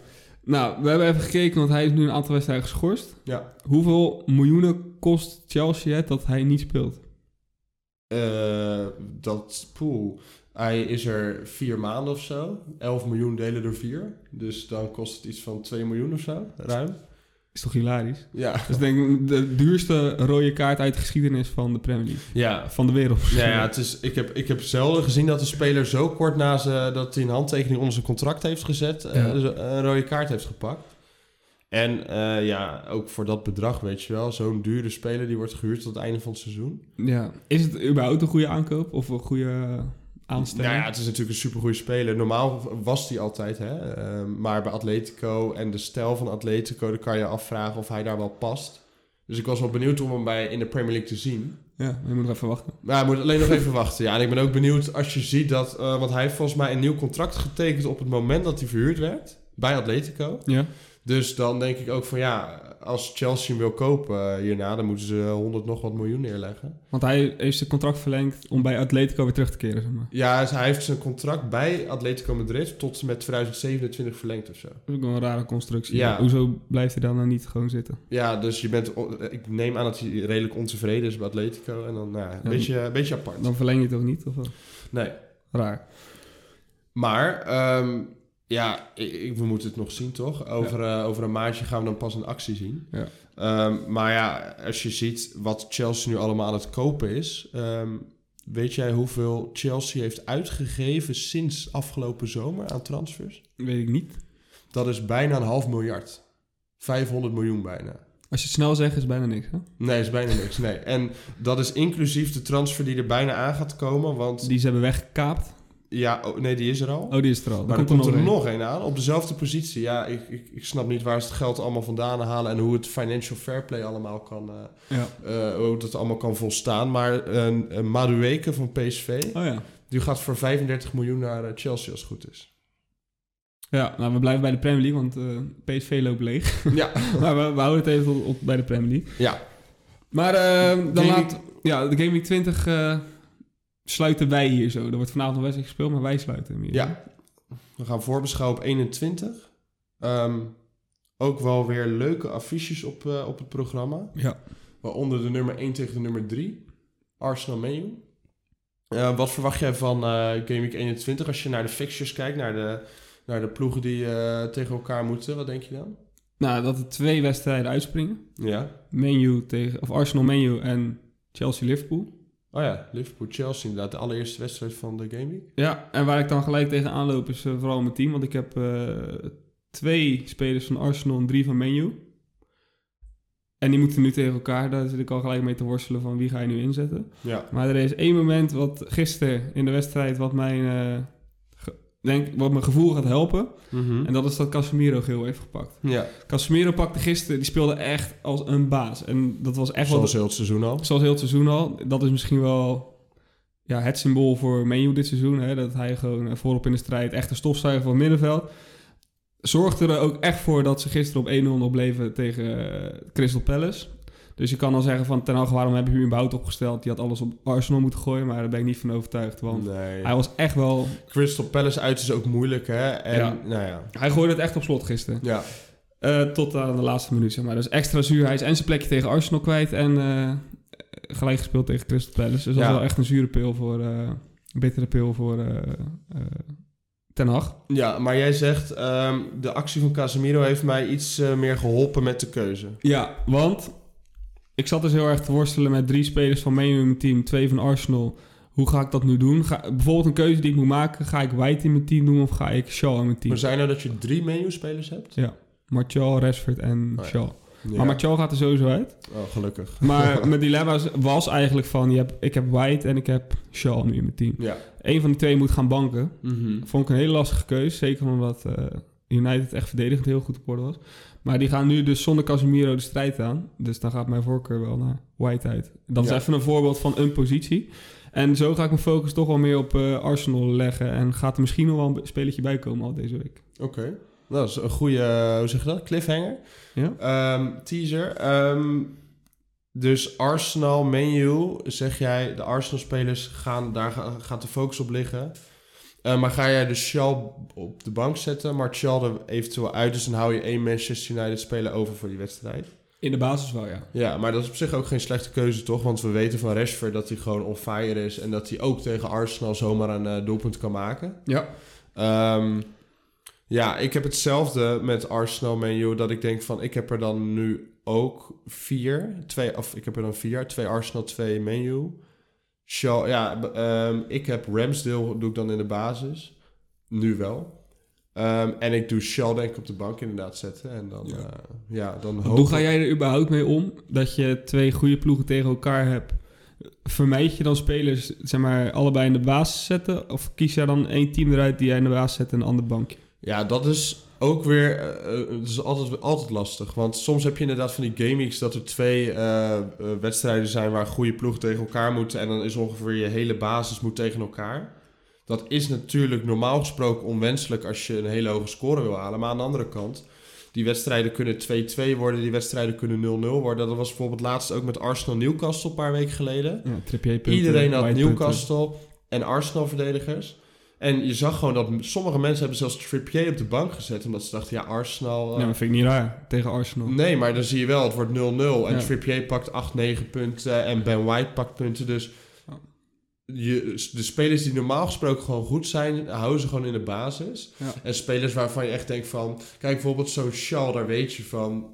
Speaker 2: Nou, we hebben even gekeken, want hij is nu een aantal wedstrijden geschorst.
Speaker 1: Ja.
Speaker 2: Hoeveel miljoenen kost Chelsea het dat hij niet speelt?
Speaker 1: Eh, dat, poeh, hij is er vier maanden of zo. 11 miljoen delen door vier. Dus dan kost het iets van 2 miljoen of zo, ruim.
Speaker 2: Is toch hilarisch?
Speaker 1: Ja.
Speaker 2: Dat is denk ik de duurste rode kaart uit de geschiedenis van de Premier League.
Speaker 1: Ja,
Speaker 2: Van de wereld.
Speaker 1: Ja, ja het is, ik, heb, ik heb zelden gezien dat een speler zo kort na ze, dat hij een handtekening onder zijn contract heeft gezet, eh,
Speaker 2: Ja.
Speaker 1: dus een rode kaart heeft gepakt. En eh, ja, ook voor dat bedrag, weet je wel, zo'n dure speler die wordt gehuurd tot het einde van het seizoen.
Speaker 2: Ja. Is het überhaupt een goede aankoop of een goede eh, aanstelling?
Speaker 1: Nou ja, het is natuurlijk een supergoeie speler. Normaal was hij altijd, hè. eh, maar bij Atletico en de stijl van Atletico, dan kan je afvragen of hij daar wel past. Dus ik was wel benieuwd om hem bij, in de Premier League te zien.
Speaker 2: Ja, je moet nog even wachten.
Speaker 1: Maar hij moet alleen nog even wachten. Ja, en ik ben ook benieuwd als je ziet dat... eh, want hij heeft volgens mij een nieuw contract getekend op het moment dat hij verhuurd werd. Bij Atletico.
Speaker 2: Ja.
Speaker 1: Dus dan denk ik ook van ja, als Chelsea hem wil kopen eh, hierna... dan moeten ze 100 nog wat miljoen neerleggen.
Speaker 2: Want hij heeft zijn contract verlengd om bij Atletico weer terug te keren, zeg maar.
Speaker 1: Ja, dus hij heeft zijn contract bij Atletico Madrid tot en met 2027 verlengd of zo.
Speaker 2: Dat is ook wel een rare constructie.
Speaker 1: Ja.
Speaker 2: Hoezo blijft hij dan nou niet gewoon zitten?
Speaker 1: Ja, dus je bent, on- ik neem aan dat hij redelijk ontevreden is bij Atletico. En dan nou, ja, een,
Speaker 2: Ja,
Speaker 1: beetje, een beetje apart.
Speaker 2: Dan verleng je het toch niet? Of wel?
Speaker 1: Nee.
Speaker 2: Raar.
Speaker 1: Maar ehm, ja, ik, ik- we moeten het nog zien, toch? Over, eh, over een maandje gaan we dan pas een actie zien.
Speaker 2: Ja.
Speaker 1: Ehm, maar ja, als je ziet wat Chelsea nu allemaal aan het kopen is. ehm, weet jij hoeveel Chelsea heeft uitgegeven sinds afgelopen zomer aan transfers?
Speaker 2: Weet ik niet.
Speaker 1: Dat is bijna een half miljard. 500 miljoen bijna.
Speaker 2: Als je het snel zegt, is het bijna niks, hè?
Speaker 1: Nee, is bijna niks. Nee. En dat is inclusief de transfer die er bijna aan gaat komen. Want
Speaker 2: Die ze hebben weggekaapt.
Speaker 1: ja, oh, nee, die is er al.
Speaker 2: Oh, die is er al.
Speaker 1: Maar dan komt er
Speaker 2: een.
Speaker 1: nog één aan, op dezelfde positie. Ja, ik, ik, ik snap niet waar ze het geld allemaal vandaan halen... en hoe het financial fair play allemaal kan... eh,
Speaker 2: Ja.
Speaker 1: eh, hoe dat allemaal kan volstaan. Maar eh, een, een Madueke van PSV...
Speaker 2: Oh ja.
Speaker 1: die gaat voor 35 miljoen naar eh, Chelsea als het goed is.
Speaker 2: Ja, nou, we blijven bij de Premier League, want eh, PSV loopt leeg.
Speaker 1: ja,
Speaker 2: maar we, we houden het even op, op bij de Premier League.
Speaker 1: ja.
Speaker 2: Maar ehm, dan
Speaker 1: Game
Speaker 2: laat... Ja, de Game Week 20 eh, sluiten wij hier zo. Er wordt vanavond een wedstrijd gespeeld, maar wij sluiten hem hier.
Speaker 1: Ja. We gaan voorbeschouwen op 21. Ehm, ook wel weer leuke affiches op, eh, op het programma.
Speaker 2: Ja.
Speaker 1: Waaronder de nummer 1 tegen de nummer 3. Arsenal Menu. wat verwacht jij van eh Game Week 21 als je naar de fixtures kijkt, naar de, naar de ploegen die eh, tegen elkaar moeten? Wat denk je dan?
Speaker 2: Nou, dat er twee wedstrijden uitspringen.
Speaker 1: Ja.
Speaker 2: Menu tegen... Of Arsenal Menu en Chelsea Liverpool.
Speaker 1: Oh ja, Liverpool-Chelsea inderdaad. De allereerste wedstrijd van de Game Week.
Speaker 2: Ja, en waar ik dan gelijk tegen aanloop is eh, vooral mijn team. Want ik heb eh, twee spelers van Arsenal en drie van Menu. En die moeten nu tegen elkaar. Daar zit ik al gelijk mee te worstelen van wie ga je nu inzetten.
Speaker 1: Ja.
Speaker 2: Maar er is één moment wat gisteren in de wedstrijd wat mijn, eh, ge- denk, wat mijn gevoel gaat helpen. En dat is dat Casemiro geel heeft gepakt.
Speaker 1: Mhm. ja.
Speaker 2: Casemiro pakte gisteren, die speelde echt als een baas. En dat was echt wel
Speaker 1: Zoals heel het seizoen al.
Speaker 2: zoals heel het seizoen al. Dat is misschien wel ja, het symbool voor Menu dit seizoen. Hè? Dat hij gewoon eh, voorop in de strijd echt een stofzuiger van het middenveld. Zorgde er ook echt voor dat ze gisteren op 1-0 nog bleven tegen eh, Crystal Palace. Dus je kan dan zeggen van ten Hag, waarom heb je u überhaupt opgesteld? Die had alles op Arsenal moeten gooien, maar daar ben ik niet van overtuigd. Want
Speaker 1: Nee.
Speaker 2: hij was echt wel...
Speaker 1: Crystal Palace uit is ook moeilijk, hè? En,
Speaker 2: Ja.
Speaker 1: Nou ja.
Speaker 2: Hij gooide het echt op slot gisteren.
Speaker 1: Ja.
Speaker 2: Eh, tot aan de laatste minuut, zeg maar. Dus extra zuur. Hij is en zijn plekje tegen Arsenal kwijt en eh, gelijk gespeeld tegen Crystal Palace. Dus dat
Speaker 1: Ja.
Speaker 2: is wel echt een zure pil voor... eh, een bittere pil voor eh, eh, Ten Hag.
Speaker 1: ja, maar jij zegt, ehm, de actie van Casemiro heeft mij iets eh, meer geholpen met de keuze.
Speaker 2: Ja, want ik zat dus heel erg te worstelen met drie spelers van Menu in mijn team, twee van Arsenal. Hoe ga ik dat nu doen? Ga, bijvoorbeeld een keuze die ik moet maken. Ga ik White in mijn team doen of ga ik Shaw in mijn team?
Speaker 1: Maar zijn nou dat je drie menu-spelers hebt?
Speaker 2: Martial, Rashford en
Speaker 1: Oh ja.
Speaker 2: Shaw.
Speaker 1: Ja.
Speaker 2: Maar Martial gaat er sowieso uit.
Speaker 1: Oh, gelukkig.
Speaker 2: Maar mijn dilemma was eigenlijk van, je hebt, ik heb White en ik heb Shaw nu in mijn team.
Speaker 1: Ja.
Speaker 2: Eén van die twee moet gaan banken.
Speaker 1: Mhm.
Speaker 2: Vond ik een hele lastige keus, zeker omdat eh, United echt verdedigend heel goed op orde was. Maar die gaan nu dus zonder Casemiro de strijd aan. Dus dan gaat mijn voorkeur wel naar White uit. Dat
Speaker 1: Ja.
Speaker 2: is even een voorbeeld van een positie. En zo ga ik mijn focus toch wel meer op eh, Arsenal leggen. En gaat er misschien nog wel een spelletje bij komen al deze week.
Speaker 1: Oké. Nou, Dat is een goede, eh, hoe zeg je dat? Cliffhanger.
Speaker 2: Ja.
Speaker 1: Ehm, teaser. Ehm, dus Arsenal, menu, zeg jij, de Arsenal-spelers gaan, daar ga- gaat de focus op liggen. Eh, maar ga jij de Shell op de bank zetten, maar Shell er eventueel uit, dus dan hou je één Manchester United-speler over voor die wedstrijd.
Speaker 2: In de basis wel, ja.
Speaker 1: Ja, maar dat is op zich ook geen slechte keuze, toch? Want we weten van Rashford dat hij gewoon on fire is en dat hij ook tegen Arsenal zomaar een eh, doelpunt kan maken.
Speaker 2: Ja.
Speaker 1: Ehm, ja, ik heb hetzelfde met Arsenal menu. Dat ik denk van, ik heb er dan nu ook vier. Twee, of ik heb er dan vier. Twee Arsenal, twee menu. Shaw, ja, b- ehm, ik heb Ramsdale, doe ik dan in de basis. Nu wel. Ehm, en ik doe Shaw denk ik op de bank inderdaad zetten. En dan,
Speaker 2: Ja.
Speaker 1: ja, ja dan
Speaker 2: Want Hoe ga jij er überhaupt mee om dat je twee goede ploegen tegen elkaar hebt? Vermijd je dan spelers, zeg maar, allebei in de basis zetten? Of kies jij dan één team eruit die jij in de basis zet en een ander bankje?
Speaker 1: Ja, dat is ook weer. eh, eh, het is altijd, altijd lastig. Want soms heb je inderdaad van die gameweeks dat er twee eh, eh, wedstrijden zijn waar goede ploegen tegen elkaar moeten. En dan is ongeveer je hele basis moet tegen elkaar. Dat is natuurlijk normaal gesproken onwenselijk als je een hele hoge score wil halen. Maar aan de andere kant, die wedstrijden kunnen 2-2 worden, die wedstrijden kunnen 0-0 worden. Dat was bijvoorbeeld laatst ook met Arsenal-Newcastle een paar weken geleden.
Speaker 2: Ja, trippier
Speaker 1: Iedereen had Newcastle en Arsenal-verdedigers. En je zag gewoon dat m- sommige mensen hebben zelfs Trippier op de bank gezet. Omdat ze dachten, ja, Arsenal... eh,
Speaker 2: Nou, dat vind ik niet raar tegen Arsenal.
Speaker 1: Nee, maar dan zie je wel, het wordt 0-0. En
Speaker 2: Ja.
Speaker 1: Trippier pakt 8, 9 punten. En Ben White pakt punten. Dus
Speaker 2: Ja.
Speaker 1: je, de spelers die normaal gesproken gewoon goed zijn, houden ze gewoon in de basis.
Speaker 2: Ja.
Speaker 1: En spelers waarvan je echt denkt van... Kijk, bijvoorbeeld zo'n Shaw, daar weet je van...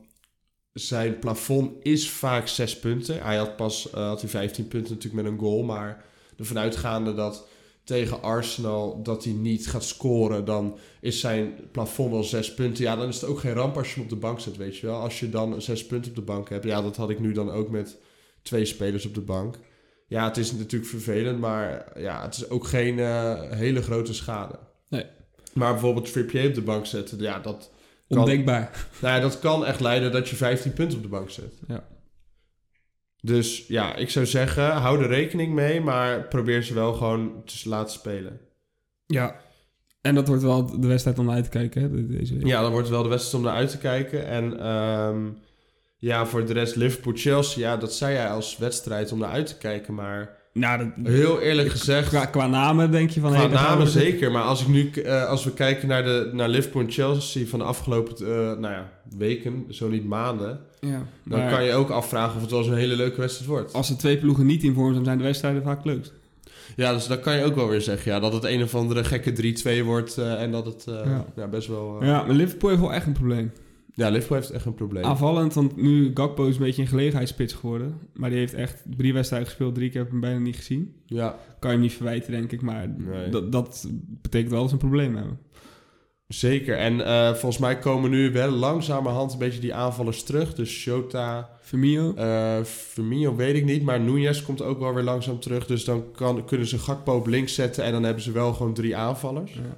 Speaker 1: Zijn plafond is vaak 6 punten. Hij had pas eh, had hij 15 punten natuurlijk met een goal. Maar ervan uitgaande dat tegen Arsenal dat hij niet gaat scoren... dan is zijn plafond wel zes punten. Ja, dan is het ook geen ramp als je hem op de bank zet, weet je wel. Als je dan zes punten op de bank hebt. Ja, dat had ik nu dan ook met twee spelers op de bank. Ja, het is natuurlijk vervelend, maar ja, het is ook geen eh, hele grote schade.
Speaker 2: Nee.
Speaker 1: Maar bijvoorbeeld Trippier op de bank zetten, ja, dat, Kan-
Speaker 2: Ondenkbaar.
Speaker 1: nou ja, dat kan echt leiden dat je 15 punten op de bank zet.
Speaker 2: Ja.
Speaker 1: Dus ja, ik zou zeggen, hou er rekening mee, maar probeer ze wel gewoon te laten spelen.
Speaker 2: Ja. En dat wordt wel de wedstrijd om naar uit te kijken, hè, de- deze week.
Speaker 1: Ja, dan wordt het wel de wedstrijd om naar uit te kijken. En ehm, ja, voor de rest Liverpool-Chelsea, ja, dat zei jij als wedstrijd om naar uit te kijken. Maar
Speaker 2: Nou, dat,
Speaker 1: heel eerlijk gezegd,
Speaker 2: qua, qua namen denk je van...
Speaker 1: qua
Speaker 2: hey, daar gaan
Speaker 1: namen
Speaker 2: we zitten.
Speaker 1: zeker. Maar als, ik nu, eh, als we kijken naar, de, naar Liverpool en Chelsea van de afgelopen eh, nou ja, weken, zo niet maanden...
Speaker 2: Ja.
Speaker 1: dan
Speaker 2: Maar
Speaker 1: kan je ook afvragen of het wel eens een hele leuke wedstrijd wordt.
Speaker 2: als de twee ploegen niet in vorm zijn, zijn de wedstrijden vaak leuk.
Speaker 1: Ja, dus dan kan je ook wel weer zeggen ja, dat het een of andere gekke 3-2 wordt... eh, en dat het eh,
Speaker 2: Ja.
Speaker 1: ja, best wel... eh,
Speaker 2: Ja, maar Liverpool heeft wel echt een probleem.
Speaker 1: Ja, Liverpool heeft echt een probleem.
Speaker 2: Aanvallend, want nu Gakpo is een beetje een gelegenheidspits geworden. Maar die heeft echt drie wedstrijden gespeeld, drie keer heb ik hem bijna niet gezien.
Speaker 1: ja,
Speaker 2: Kan je hem niet verwijten, denk ik, maar
Speaker 1: Nee.
Speaker 2: dat, dat betekent wel dat ze een probleem hebben.
Speaker 1: zeker. En eh, volgens mij komen nu wel langzamerhand een beetje die aanvallers terug. Dus Shota,
Speaker 2: Firmino,
Speaker 1: eh Firmino weet ik niet. Maar Nunez komt ook wel weer langzaam terug. Dus dan kan, kunnen ze Gakpo op links zetten. En dan hebben ze wel gewoon drie aanvallers.
Speaker 2: ja.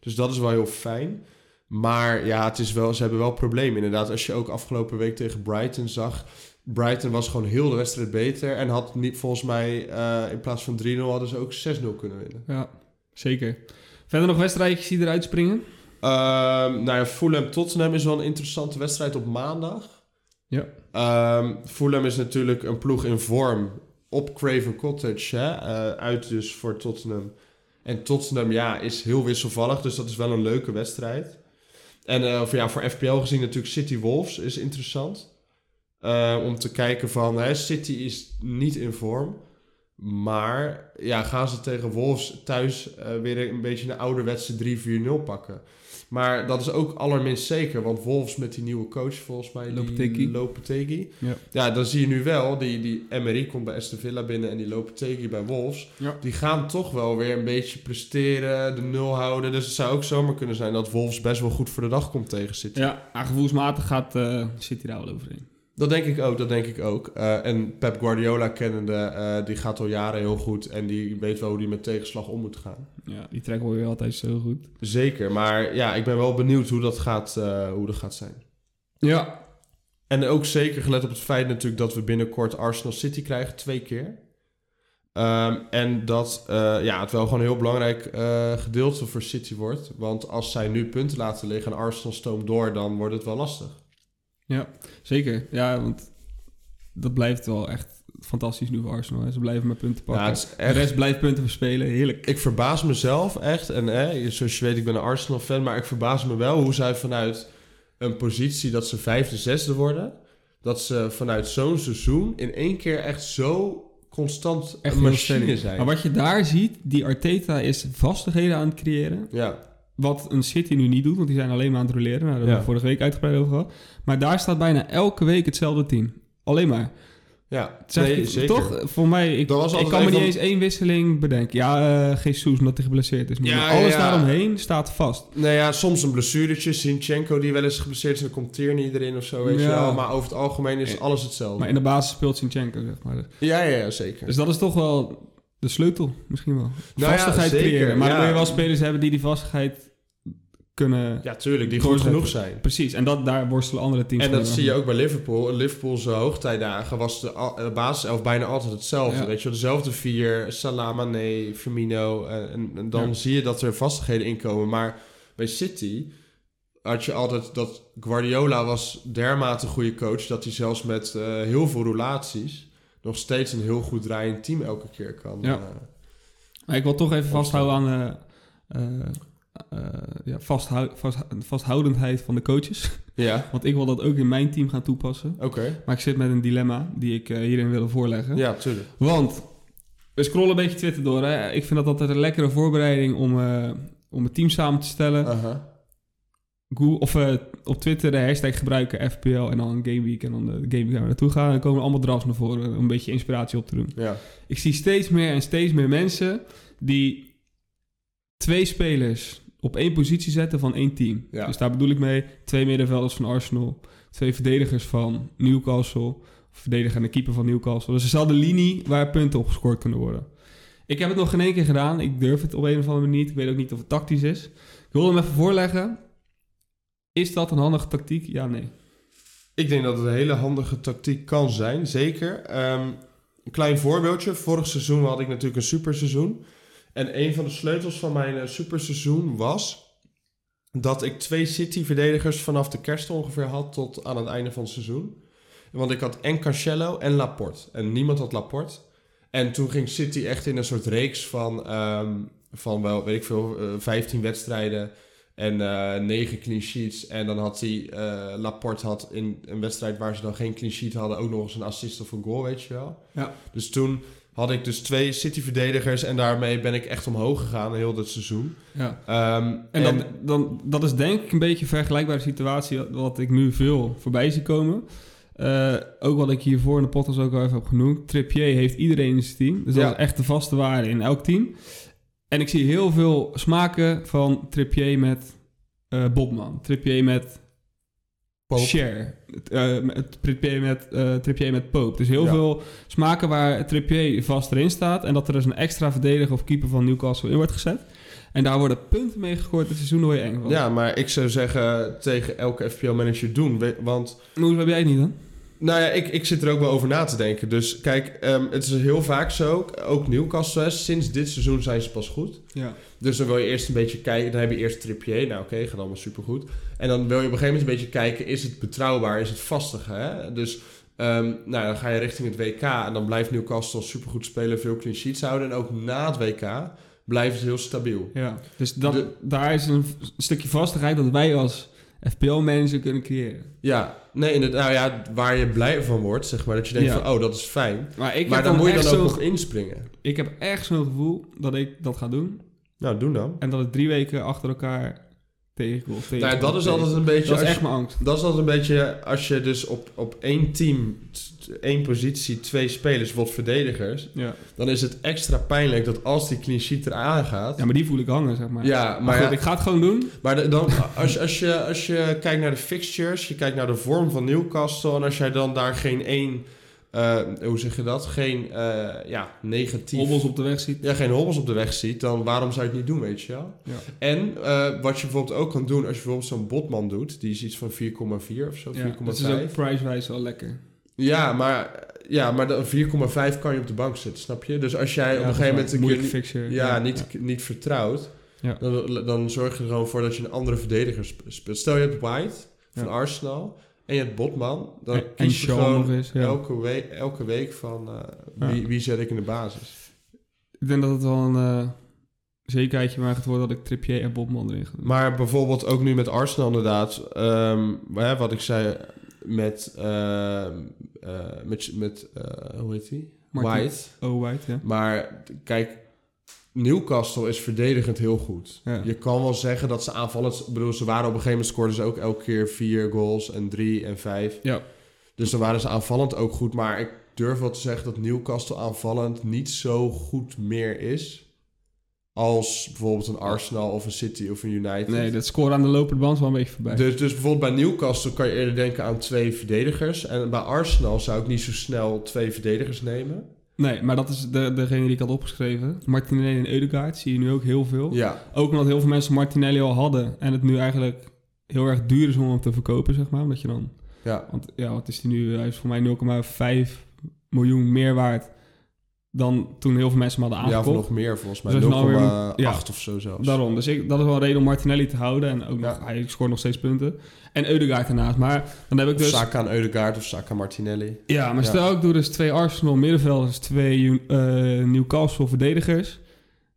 Speaker 1: Dus dat is wel heel fijn. Maar ja, het is wel, ze hebben wel problemen inderdaad. Als je ook afgelopen week tegen Brighton zag. Brighton was gewoon heel de wedstrijd beter. En had niet, volgens mij eh, in plaats van 3-0 hadden ze ook 6-0 kunnen winnen.
Speaker 2: ja, zeker. Verder nog wedstrijdjes die eruit springen?
Speaker 1: Ehm nou ja, Fulham-Tottenham is wel een interessante wedstrijd op maandag.
Speaker 2: Ja.
Speaker 1: Ehm, Fulham is natuurlijk een ploeg in vorm op Craven Cottage. Hè? Eh, uit dus voor Tottenham. En Tottenham ja, is heel wisselvallig, dus dat is wel een leuke wedstrijd. En eh, of ja, voor FPL gezien natuurlijk City Wolves is interessant. Eh, om te kijken van, hè, City is niet in vorm. Maar ja, gaan ze tegen Wolves thuis eh, weer een beetje een ouderwetse 3-4-0 pakken. Maar dat is ook allerminst zeker. Want Wolves met die nieuwe coach, volgens mij, die
Speaker 2: Lopetegui.
Speaker 1: Lopetegui.
Speaker 2: Ja.
Speaker 1: ja, dan zie je nu wel, die, die Emery komt bij Aston Villa binnen en die Lopetegui bij Wolves.
Speaker 2: Ja.
Speaker 1: Die gaan toch wel weer een beetje presteren, de nul houden. Dus het zou ook zomaar kunnen zijn dat Wolves best wel goed voor de dag komt tegen City.
Speaker 2: Ja, maar Ah, gevoelsmatig gaat, eh, City daar wel overheen.
Speaker 1: Dat denk ik ook, dat denk ik ook. Eh, en Pep Guardiola kennende, eh, die gaat al jaren heel goed. En die weet wel hoe die met tegenslag om moet gaan.
Speaker 2: Ja, die trek hoor je altijd zo goed.
Speaker 1: Zeker, maar ja, ik ben wel benieuwd hoe dat gaat, eh, hoe dat gaat zijn.
Speaker 2: Ja.
Speaker 1: En ook zeker gelet op het feit natuurlijk dat we binnenkort Arsenal City krijgen, twee keer. Ehm, en dat eh, ja, het wel gewoon een heel belangrijk eh, gedeelte voor City wordt. Want als zij nu punten laten liggen en Arsenal stoomt door, dan wordt het wel lastig.
Speaker 2: Zeker, ja, want dat blijft wel echt fantastisch nu voor Arsenal. Hè. Ze blijven maar punten pakken.
Speaker 1: Ja, het is
Speaker 2: De
Speaker 1: echt
Speaker 2: rest blijft punten verspelen, heerlijk.
Speaker 1: ik verbaas mezelf echt. En hè, zoals je weet, ik ben een Arsenal-fan. Maar ik verbaas me wel hoe zij vanuit een positie dat ze vijfde, zesde worden. Dat ze vanuit zo'n seizoen in één keer echt zo constant
Speaker 2: Echt
Speaker 1: een
Speaker 2: heel
Speaker 1: machine
Speaker 2: sterk.
Speaker 1: zijn.
Speaker 2: Maar wat je daar ziet, die Arteta is vastigheden aan het creëren.
Speaker 1: Ja,
Speaker 2: Wat een City nu niet doet, want die zijn alleen maar aan het roleren. Nou, daar hebben we
Speaker 1: Ja.
Speaker 2: vorige week uitgebreid over gehad. Maar daar staat bijna elke week hetzelfde team. Alleen maar.
Speaker 1: ja.
Speaker 2: Het is echt-
Speaker 1: Nee, zeker.
Speaker 2: Toch, voor mij, ik,
Speaker 1: Dat was
Speaker 2: ik
Speaker 1: altijd
Speaker 2: kan me
Speaker 1: een
Speaker 2: niet
Speaker 1: van-
Speaker 2: eens één wisseling bedenken. Ja, eh Jesus, omdat hij geblesseerd is. Maar
Speaker 1: Ja,
Speaker 2: alles
Speaker 1: ja, ja.
Speaker 2: daaromheen staat vast.
Speaker 1: Nou ja, soms een blessuretje. Sinchenko die wel eens geblesseerd is en dan komt Tierney erin of zo, weet
Speaker 2: Ja.
Speaker 1: je wel. Maar over het algemeen is alles hetzelfde.
Speaker 2: Maar in de basis speelt Sinchenko, zeg maar.
Speaker 1: Ja, ja, ja, zeker.
Speaker 2: Dus dat is toch wel de sleutel, misschien wel.
Speaker 1: Nou ja,
Speaker 2: vastigheid
Speaker 1: zeker,
Speaker 2: creëren. Maar
Speaker 1: ja.
Speaker 2: dan moet je wel spelers hebben die die vastigheid kunnen...
Speaker 1: ja, tuurlijk. Die goed genoeg zijn.
Speaker 2: Precies, en dat, daar worstelen andere teams
Speaker 1: En
Speaker 2: mee.
Speaker 1: dat zie je ook bij Liverpool. Liverpool's hoogtijdagen was de, al- de basiself bijna altijd hetzelfde.
Speaker 2: Ja.
Speaker 1: Weet je, wel, dezelfde vier, Salah, Mane, Firmino. En, en- en dan
Speaker 2: Ja.
Speaker 1: zie je dat er vastigheden in komen. Maar bij City had je altijd dat Guardiola was dermate goede coach... dat hij zelfs met eh, heel veel roulaties nog steeds een heel goed draaiend team elke keer kan.
Speaker 2: Ja.
Speaker 1: eh,
Speaker 2: Maar ik wil toch even vasthouden aan... eh, eh, eh, ja, vasthou- vast- vasthoudendheid van de coaches.
Speaker 1: ja.
Speaker 2: Want ik wil dat ook in mijn team gaan toepassen.
Speaker 1: oké.
Speaker 2: Maar ik zit met een dilemma die ik eh, hierin wil voorleggen.
Speaker 1: Ja, tuurlijk.
Speaker 2: Want, we scrollen een beetje Twitter door. Hè. Ik vind dat altijd een lekkere voorbereiding om, eh, om het team samen te stellen.
Speaker 1: Aha.
Speaker 2: Google, of eh, op Twitter de hashtag gebruiken FPL en dan Game Week. En dan de Game Week waar we naartoe gaan. En dan komen allemaal drafts naar voren om een beetje inspiratie op te doen.
Speaker 1: Ja.
Speaker 2: Ik zie steeds meer en steeds meer mensen die twee spelers op één positie zetten van één team.
Speaker 1: Ja.
Speaker 2: Dus daar bedoel ik mee twee middenvelders van Arsenal, twee verdedigers van Newcastle, verdediger en de keeper van Newcastle. Dus dezelfde linie waar punten op gescoord kunnen worden. Ik heb het nog geen één keer gedaan. Ik durf het op een of andere manier niet. Ik weet ook niet of het tactisch is. Ik wil hem even voorleggen. Is dat een handige tactiek? Ja, nee.
Speaker 1: Ik denk dat het een hele handige tactiek kan zijn, zeker. Ehm, een klein voorbeeldje. Vorig seizoen had ik natuurlijk een superseizoen. En een van de sleutels van mijn eh, superseizoen was... dat ik twee City-verdedigers vanaf de kerst ongeveer had tot aan het einde van het seizoen. Want ik had en Cancelo en Laporte. En niemand had Laporte. En toen ging City echt in een soort reeks van, ehm, van wel, weet ik veel, eh, 15 wedstrijden... En eh negen clean sheets. En dan had hij, eh, Laporte had in een wedstrijd waar ze dan geen clean sheet hadden ook nog eens een assist of een goal, weet je wel.
Speaker 2: Ja.
Speaker 1: Dus toen had ik dus twee City-verdedigers en daarmee ben ik echt omhoog gegaan heel dit seizoen.
Speaker 2: Ja.
Speaker 1: Ehm,
Speaker 2: En, dan, dan, dat is denk ik een beetje een vergelijkbare situatie wat ik nu veel voorbij zie komen. Eh, ook wat ik hiervoor in de podcast ook al even heb genoemd. Trippier heeft iedereen in zijn team. Dus
Speaker 1: Ja.
Speaker 2: dat is echt de vaste waarde in elk team. En ik zie heel veel smaken van Trippier met eh, Bobman. Trippier met
Speaker 1: Pope.
Speaker 2: Share. Trippier met, eh Trippier met Pope. Dus heel
Speaker 1: Ja.
Speaker 2: veel smaken waar Trippier vast erin staat. En dat er dus een extra verdediger of keeper van Newcastle in wordt gezet. En daar worden punten mee gescoord. Het seizoen hoor je eng van.
Speaker 1: Ja, maar ik zou zeggen tegen elke FPL-manager doen. we- Want
Speaker 2: Maar hoezo heb jij het niet dan?
Speaker 1: nou ja, ik, ik zit er ook wel over na te denken. Dus kijk, ehm, het is heel vaak zo, ook Newcastle, hè, sinds dit seizoen zijn ze pas goed.
Speaker 2: Ja.
Speaker 1: Dus dan wil je eerst een beetje kijken. Dan heb je eerst tripje. Nou, oké, gaat allemaal supergoed. En dan wil je op een gegeven moment een beetje kijken: is het betrouwbaar? Is het vastig? Hè? Dus ehm, nou, dan ga je richting het WK. En dan blijft Newcastle supergoed spelen, veel clean sheets houden. En ook na het WK blijft het heel stabiel.
Speaker 2: ja. Dus dat,
Speaker 1: De-
Speaker 2: daar is een v- stukje vastigheid dat wij als FPL-manager kunnen creëren.
Speaker 1: Ja, nee, inderdaad. Nou ja, waar je blij van wordt, zeg maar. Dat je denkt:
Speaker 2: Ja.
Speaker 1: van, oh, dat is fijn.
Speaker 2: Maar, ik
Speaker 1: maar
Speaker 2: heb
Speaker 1: dan moet je dan
Speaker 2: echt
Speaker 1: ook
Speaker 2: zo'n-
Speaker 1: nog inspringen.
Speaker 2: Ik heb echt zo'n gevoel dat ik dat ga doen.
Speaker 1: Nou, doen dan.
Speaker 2: En dat het drie weken achter elkaar tegenkomt.
Speaker 1: Nou, ja, dat is altijd een beetje.
Speaker 2: Dat is
Speaker 1: als
Speaker 2: echt mijn angst.
Speaker 1: Dat is altijd een beetje als je dus op, op één team, t- één positie, twee spelers, wat verdedigers.
Speaker 2: Ja.
Speaker 1: Dan is het extra pijnlijk dat als die clean sheet eraan gaat.
Speaker 2: ja, maar die voel ik hangen, zeg maar.
Speaker 1: Ja,
Speaker 2: Maar
Speaker 1: maar,
Speaker 2: goed,
Speaker 1: ja,
Speaker 2: ik ga het gewoon doen.
Speaker 1: maar de- dan, als, je- als, je, als je kijkt naar de fixtures, je kijkt naar de vorm van Newcastle. En als jij dan daar geen één, eh, hoe zeg je dat? Geen eh, ja, negatief.
Speaker 2: Hobbels op de weg ziet.
Speaker 1: Ja, geen hobbels op de weg ziet, dan waarom zou je het niet doen, weet je wel?
Speaker 2: Ja.
Speaker 1: En eh, wat je bijvoorbeeld ook kan doen, als je bijvoorbeeld zo'n botman doet, die is iets van 4,4 of zo, 4,5.
Speaker 2: Ja, dat is ook price-wise wel lekker.
Speaker 1: Ja, maar, ja, maar dan 4,5 kan je op de bank zitten, snap je? Dus als jij op een gegeven moment een keer
Speaker 2: moeilijke
Speaker 1: niet-
Speaker 2: fixture.
Speaker 1: ja, niet, niet vertrouwt,
Speaker 2: Ja.
Speaker 1: dan, dan zorg je er gewoon voor dat je een andere verdediger sp- speelt. Stel je hebt White van
Speaker 2: Ja.
Speaker 1: Arsenal en je hebt Botman, dan
Speaker 2: En, en
Speaker 1: kies je
Speaker 2: Shaw nog
Speaker 1: gewoon
Speaker 2: eens. Ja.
Speaker 1: elke, week, elke week van eh,
Speaker 2: Ja.
Speaker 1: wie, wie zet ik in de basis.
Speaker 2: Ik denk dat het wel een eh, zekerheidje maar gaat worden dat ik Trippier en Bobman erin ga doen.
Speaker 1: Maar bijvoorbeeld ook nu met Arsenal inderdaad, ehm, hè, wat ik zei met, ehm, eh, met, met eh, hoe heet die?
Speaker 2: Martin-
Speaker 1: White.
Speaker 2: Oh, White, ja.
Speaker 1: Maar t- kijk, Newcastle is verdedigend heel goed.
Speaker 2: Ja.
Speaker 1: Je kan wel zeggen dat ze aanvallend... Ik bedoel, ze waren op een gegeven moment... scoorden ze ook elke keer vier goals en drie en vijf.
Speaker 2: Ja.
Speaker 1: Dus dan waren ze aanvallend ook goed. Maar ik durf wel te zeggen dat Newcastle aanvallend niet zo goed meer is... als bijvoorbeeld een Arsenal of een City of een United.
Speaker 2: Nee, dat scoren aan de lopende band is wel een beetje voorbij.
Speaker 1: Dus, dus bijvoorbeeld bij Newcastle kan je eerder denken aan twee verdedigers. En bij Arsenal zou ik niet zo snel twee verdedigers nemen.
Speaker 2: Nee, maar dat is de, degene die ik had opgeschreven. Martinelli en Eudegaard zie je nu ook heel veel.
Speaker 1: Ja,
Speaker 2: Ook omdat heel veel mensen Martinelli al hadden en het nu eigenlijk heel erg duur is om hem te verkopen, zeg maar. Omdat je dan...
Speaker 1: ja.
Speaker 2: Want ja, wat is die nu? Hij is voor mij 0,5 miljoen meer waard dan toen heel veel mensen hem hadden
Speaker 1: Ja, of
Speaker 2: aangekocht.
Speaker 1: nog meer volgens mij.
Speaker 2: Dus als je nou weer
Speaker 1: 0,8
Speaker 2: moet- ja.
Speaker 1: of zo zelfs.
Speaker 2: Daarom, dus ik, dat is wel een reden om Martinelli te houden. En ook nog,
Speaker 1: Ja.
Speaker 2: hij scoort nog steeds punten. En Eudegaard daarnaast. Maar dan heb ik
Speaker 1: Of
Speaker 2: dus...
Speaker 1: Saka aan Eudegaard of Saka Martinelli.
Speaker 2: Ja, maar
Speaker 1: Ja.
Speaker 2: stel ik doe dus twee Arsenal middenvelders, twee eh, Newcastle verdedigers.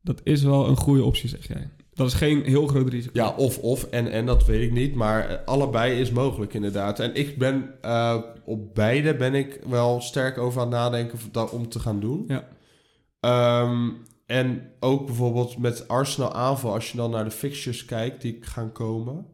Speaker 2: Dat is wel een goede optie, zeg jij. Dat is geen heel groot risico.
Speaker 1: Ja, of, of, en, en, dat weet ik niet. Maar eh, allebei is mogelijk inderdaad. En ik ben, eh, op beide ben ik wel sterk over aan het nadenken of dat om te gaan doen.
Speaker 2: Ja.
Speaker 1: Ehm, en ook bijvoorbeeld met Arsenal aanval, als je dan naar de fixtures kijkt die gaan komen.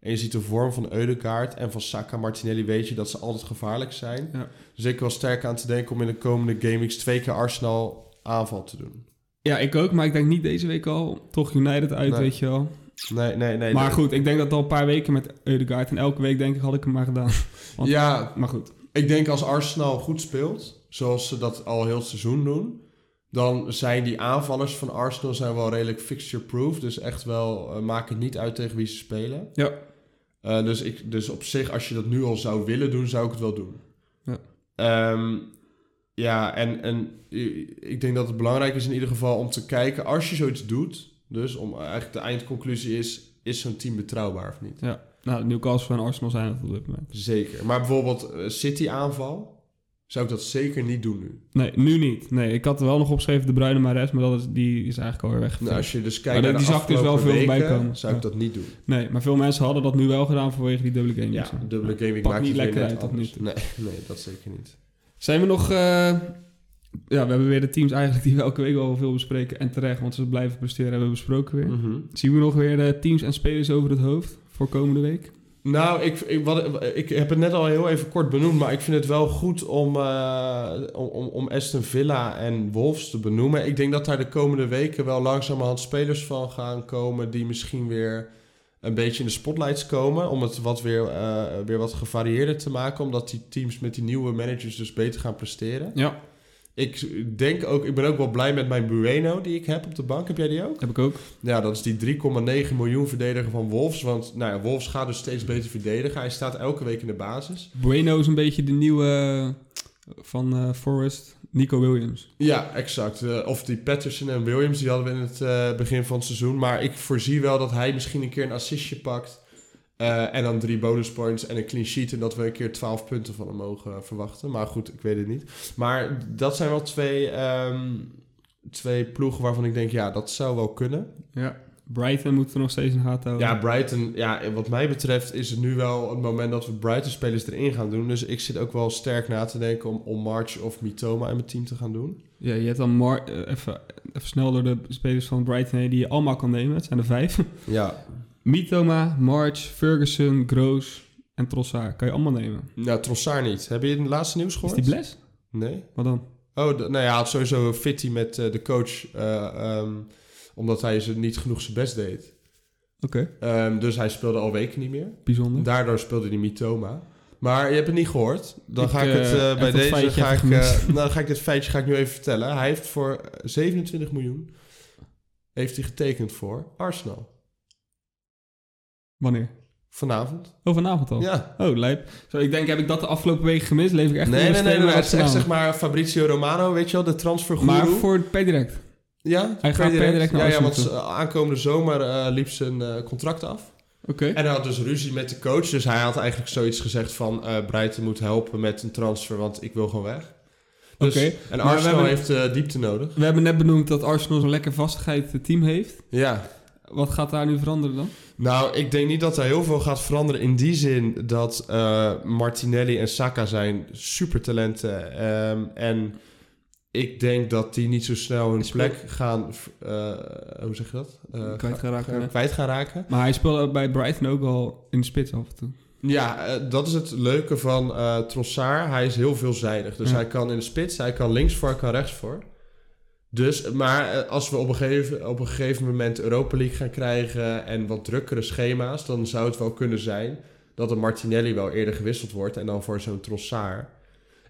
Speaker 1: En je ziet de vorm van Eudegaard en van Saka Martinelli, weet je dat ze altijd gevaarlijk zijn.
Speaker 2: Ja.
Speaker 1: Dus ik wel sterk aan te denken om in de komende GameX twee keer Arsenal aanval te doen.
Speaker 2: Ja, ik ook, maar ik denk niet deze week al. Toch United uit,
Speaker 1: Nee.
Speaker 2: weet je wel.
Speaker 1: Nee, nee, nee.
Speaker 2: maar
Speaker 1: nee.
Speaker 2: goed, ik denk dat al een paar weken met Eudegaard. En elke week denk ik, had ik hem maar gedaan. Want-
Speaker 1: Ja,
Speaker 2: Maar goed.
Speaker 1: ik denk als Arsenal goed speelt, zoals ze dat al heel het seizoen doen, dan zijn die aanvallers van Arsenal zijn wel redelijk fixture-proof. Dus echt wel, eh, maakt het niet uit tegen wie ze spelen.
Speaker 2: Ja.
Speaker 1: Eh, dus, ik, dus op zich, als je dat nu al zou willen doen, zou ik het wel doen.
Speaker 2: Ja.
Speaker 1: Ehm, ja, en, en i- ik denk dat het belangrijk is in ieder geval om te kijken, als je zoiets doet, dus om eigenlijk de eindconclusie is, is zo'n team betrouwbaar of niet?
Speaker 2: Nou, Newcastle en Arsenal zijn het op dit moment.
Speaker 1: Zeker. Maar bijvoorbeeld eh, City aanval zou ik dat zeker niet doen nu.
Speaker 2: Nee, nu niet. Nee, ik had er wel nog opgeschreven de Bruyne Mares, maar dat is, die is eigenlijk alweer weg.
Speaker 1: Nou, als je dus kijkt
Speaker 2: Maar
Speaker 1: naar
Speaker 2: die
Speaker 1: de
Speaker 2: zag ik dus wel
Speaker 1: afgelopen
Speaker 2: veel voorbij
Speaker 1: weken,
Speaker 2: komen.
Speaker 1: zou ik
Speaker 2: Ja.
Speaker 1: dat niet doen.
Speaker 2: Nee, maar veel mensen hadden dat nu wel gedaan vanwege die dubbele game.
Speaker 1: Ja, dubbele gaming
Speaker 2: Pakt
Speaker 1: maakt
Speaker 2: niet
Speaker 1: het weer
Speaker 2: lekker
Speaker 1: net
Speaker 2: uit tot nu
Speaker 1: anders.
Speaker 2: toe.
Speaker 1: Nee, nee, dat zeker niet.
Speaker 2: Zijn we nog eh, Ja, we hebben weer de teams eigenlijk die we elke week al veel bespreken. En terecht, want ze blijven presteren hebben we besproken weer.
Speaker 1: Mhm.
Speaker 2: Zien we nog weer de teams en spelers over het hoofd voor komende week?
Speaker 1: Nou, ik, ik, wat, ik heb het net al heel even kort benoemd, maar ik vind het wel goed om, eh, om, om- om Aston Villa en Wolves te benoemen. Ik denk dat daar de komende weken wel langzamerhand spelers van gaan komen die misschien weer een beetje in de spotlights komen. Om het wat weer, eh, weer wat gevarieerder te maken, omdat die teams met die nieuwe managers dus beter gaan presteren.
Speaker 2: Ja.
Speaker 1: Ik, denk ook, ik ben ook wel blij met mijn Bueno die ik heb op de bank. Heb jij die ook?
Speaker 2: Heb ik ook.
Speaker 1: Ja, dat is die 3,9 miljoen verdediger van Wolves. Want nou ja, Wolves gaat dus steeds beter verdedigen. Hij staat elke week in de basis.
Speaker 2: Bueno is een beetje de nieuwe eh, van eh, Forrest, Nico Williams.
Speaker 1: Ja, exact. Eh, of die Patterson en Williams, die hadden we in het eh, begin van het seizoen. Maar ik voorzie wel dat hij misschien een keer een assistje pakt. eh, en dan drie bonuspoints en een clean sheet. En dat we een keer 12 punten van hem mogen eh, verwachten. Maar goed, ik weet het niet. Maar dat zijn wel twee, ehm, twee ploegen waarvan ik denk, ja, dat zou wel kunnen.
Speaker 2: Ja. Brighton moeten we nog steeds in de gaten houden.
Speaker 1: Ja, Brighton, ja, wat mij betreft is het nu wel het moment dat we Brighton-spelers erin gaan doen. Dus ik zit ook wel sterk na te denken om, om March of Mitoma in mijn team te gaan doen.
Speaker 2: Ja, je hebt dan Mar eh, even, even snel door de spelers van Brighton heen die je allemaal kan nemen. Het zijn er vijf.
Speaker 1: Ja.
Speaker 2: Mitoma, March, Ferguson, Groos en Trossard. Kan je allemaal nemen.
Speaker 1: Nou, Trossard niet. Heb je het laatste nieuws
Speaker 2: Is
Speaker 1: gehoord?
Speaker 2: die bles?
Speaker 1: Nee.
Speaker 2: Wat dan?
Speaker 1: Oh, d- nou ja, hij had sowieso een fitty met eh, de coach, eh, ehm, omdat hij ze niet genoeg zijn best deed.
Speaker 2: Oké,
Speaker 1: Ehm, dus hij speelde al weken niet meer.
Speaker 2: bijzonder.
Speaker 1: Daardoor speelde hij Mitoma. Maar je hebt het niet gehoord. Dan
Speaker 2: Ik,
Speaker 1: ga ik het
Speaker 2: eh,
Speaker 1: eh,
Speaker 2: heb
Speaker 1: bij
Speaker 2: dat
Speaker 1: deze.
Speaker 2: feitje
Speaker 1: Ga ik,
Speaker 2: even gemist.
Speaker 1: eh, nou, dan ga ik dit feitje ga ik nu even vertellen. Hij heeft voor eh, 27 miljoen. Heeft hij getekend voor Arsenal.
Speaker 2: Wanneer?
Speaker 1: Vanavond.
Speaker 2: Oh, vanavond al.
Speaker 1: Ja.
Speaker 2: Oh, lijp. Zo, ik denk, heb ik dat de afgelopen weken gemist? Leef ik echt
Speaker 1: nee,
Speaker 2: onder
Speaker 1: nee, nee,
Speaker 2: stenen
Speaker 1: nee. Het is
Speaker 2: achter
Speaker 1: echt
Speaker 2: naam.
Speaker 1: zeg maar Fabrizio Romano, weet je wel, de transfergoeroe.
Speaker 2: Maar voor per direct.
Speaker 1: ja,
Speaker 2: Hij gaat per direct naar
Speaker 1: ja, ja,
Speaker 2: Arsenal
Speaker 1: want eh, aankomende zomer eh, liep zijn eh, contract af.
Speaker 2: Oké.
Speaker 1: En hij had dus ruzie met de coach. Dus hij had eigenlijk zoiets gezegd van... eh Breiten moet helpen met een transfer, want ik wil gewoon weg. Dus,
Speaker 2: Oké,
Speaker 1: En
Speaker 2: maar we
Speaker 1: Arsenal
Speaker 2: hebben-
Speaker 1: heeft eh, diepte nodig.
Speaker 2: We hebben net benoemd dat Arsenal zo'n lekker vastigheid eh, team heeft.
Speaker 1: Ja.
Speaker 2: Wat gaat daar nu veranderen dan?
Speaker 1: Nou, ik denk niet dat er heel veel gaat veranderen in die zin dat eh, Martinelli en Saka zijn supertalenten. ehm en ik denk dat die niet zo snel hun
Speaker 2: Is-
Speaker 1: plek gaan, eh, hoe zeg je dat? Eh,
Speaker 2: Kwijtgeraakt,
Speaker 1: ga-
Speaker 2: hè?
Speaker 1: kwijt gaan raken.
Speaker 2: Maar hij speelde bij Brighton ook al in de spits af en toe.
Speaker 1: Ja, eh, dat is het leuke van eh, Trossard. Hij is heel veelzijdig. Dus
Speaker 2: Ja.
Speaker 1: hij kan in de spits, hij kan links voor, hij kan rechts voor. Dus, maar eh, als we op een, gegeven, op een gegeven moment Europa League gaan krijgen en wat drukkere schema's, dan zou het wel kunnen zijn dat een Martinelli wel eerder gewisseld wordt en dan voor zo'n Trossard.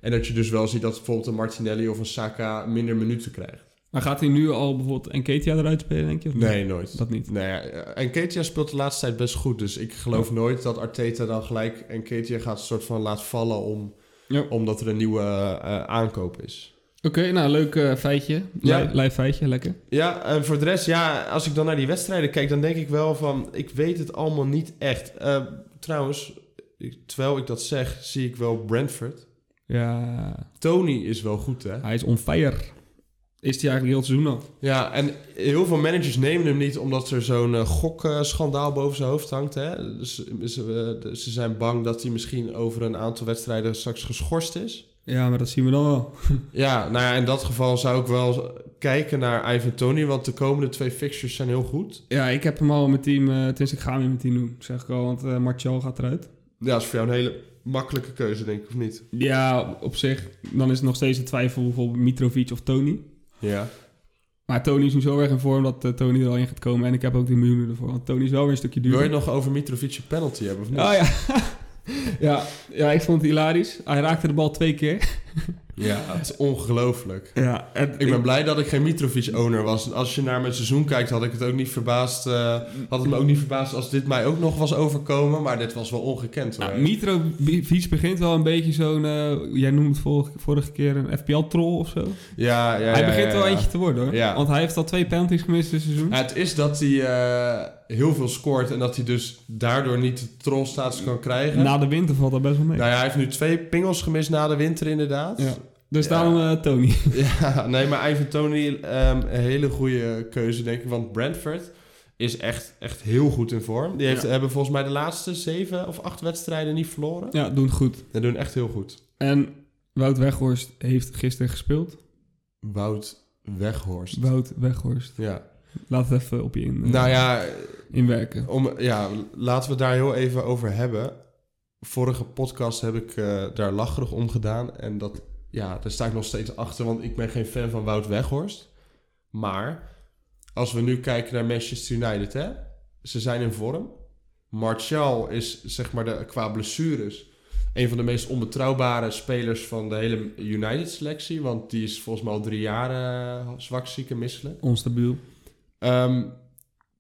Speaker 1: En dat je dus wel ziet dat bijvoorbeeld een Martinelli of een Saka minder minuten krijgt.
Speaker 2: Maar gaat hij nu al bijvoorbeeld Enketia eruit spelen, denk je? of niet?
Speaker 1: Nee, nooit.
Speaker 2: Dat niet.
Speaker 1: Nou ja, en Ketia speelt de laatste tijd best goed. Dus ik geloof nooit dat Arteta dan gelijk en Ketia gaat een soort van laat vallen om,
Speaker 2: Ja.
Speaker 1: omdat er een nieuwe eh, aankoop is.
Speaker 2: Oké, nou, leuk eh, feitje.
Speaker 1: Ja.
Speaker 2: Li- Live feitje, lekker.
Speaker 1: Ja, en voor de rest, ja, als ik dan naar die wedstrijden kijk, dan denk ik wel van, ik weet het allemaal niet echt. Eh, trouwens, ik- terwijl ik dat zeg, zie ik wel Brentford.
Speaker 2: Ja,
Speaker 1: Tony is wel goed, hè?
Speaker 2: hij is on fire. Is hij eigenlijk heel het seizoen al?
Speaker 1: Ja, en heel veel managers nemen hem niet omdat er zo'n eh, gokschandaal boven zijn hoofd hangt. Hè? Dus, ze, eh, ze zijn bang dat hij misschien over een aantal wedstrijden straks geschorst is.
Speaker 2: Ja, maar dat zien we dan wel.
Speaker 1: Ja, nou ja, in dat geval zou ik wel kijken naar Ivan Tony, want de komende twee fixtures zijn heel goed.
Speaker 2: Ja, ik heb hem al in mijn team. eh tenminste, ik ga hem in mijn team doen, zeg ik al. Want eh, Martial gaat eruit.
Speaker 1: Ja, dat is voor jou een hele makkelijke keuze, denk ik, of niet?
Speaker 2: Ja, op zich. Dan is het nog steeds een twijfel bijvoorbeeld Mitrovic of Tony.
Speaker 1: Ja.
Speaker 2: Maar Tony is nu zo erg in vorm dat eh, Tony er al in gaat komen. En ik heb ook die miljoenen ervoor. Want Tony is wel weer een stukje
Speaker 1: Wil je
Speaker 2: duurder.
Speaker 1: het nog over Mitrovic een penalty hebben, of niet?
Speaker 2: Ah, ja. ja. ja, ik vond het hilarisch. Hij raakte de bal twee keer.
Speaker 1: Ja, het is ongelooflijk.
Speaker 2: Ja, en
Speaker 1: Ik ben blij dat ik geen Mitrovic-owner was. Als je naar mijn seizoen kijkt, had ik het ook niet verbaasd. eh, had het me ook niet verbaasd als dit mij ook nog was overkomen. Maar dit was wel ongekend hoor.
Speaker 2: Nou, Mitrovic begint wel een beetje zo'n... eh, jij noemde het vorige, vorige keer een FPL-troll of zo.
Speaker 1: ja, ja,
Speaker 2: hij
Speaker 1: ja,
Speaker 2: begint
Speaker 1: ja,
Speaker 2: wel
Speaker 1: ja.
Speaker 2: eentje te worden, hoor.
Speaker 1: Ja.
Speaker 2: Want hij heeft al twee penalties gemist dit seizoen.
Speaker 1: Ja, het is dat hij eh, heel veel scoort en dat hij dus daardoor niet de trollstatus kan krijgen. Nou,
Speaker 2: Na de winter valt dat best wel mee.
Speaker 1: ja, hij heeft nu twee pingels gemist na de winter inderdaad.
Speaker 2: Ja. Dus
Speaker 1: Ja.
Speaker 2: daarom eh, Tony.
Speaker 1: Ja, nee, maar Ivan Tony, ehm, een hele goede keuze, denk ik. Want Brentford is echt, echt heel goed in vorm. Die heeft,
Speaker 2: Ja.
Speaker 1: hebben volgens mij de laatste zeven of acht wedstrijden niet verloren.
Speaker 2: Ja, doen het goed.
Speaker 1: Die doen echt heel goed.
Speaker 2: En Wout Weghorst heeft gisteren gespeeld.
Speaker 1: Wout Weghorst.
Speaker 2: Wout Weghorst.
Speaker 1: Ja.
Speaker 2: Laat het even op je in, eh,
Speaker 1: Nou ja,
Speaker 2: inwerken.
Speaker 1: om, ja, laten we het daar heel even over hebben. Vorige podcast heb ik eh, daar lacherig om gedaan. En dat, ja, daar sta ik nog steeds achter, want ik ben geen fan van Wout Weghorst. Maar als we nu kijken naar Manchester United, hè, ze zijn in vorm. Martial is, zeg maar, de, qua blessures een van de meest onbetrouwbare spelers van de hele United-selectie. Want die is volgens mij al drie jaar eh, zwak, ziek en misselijk.
Speaker 2: Onstabiel.
Speaker 1: Ehm,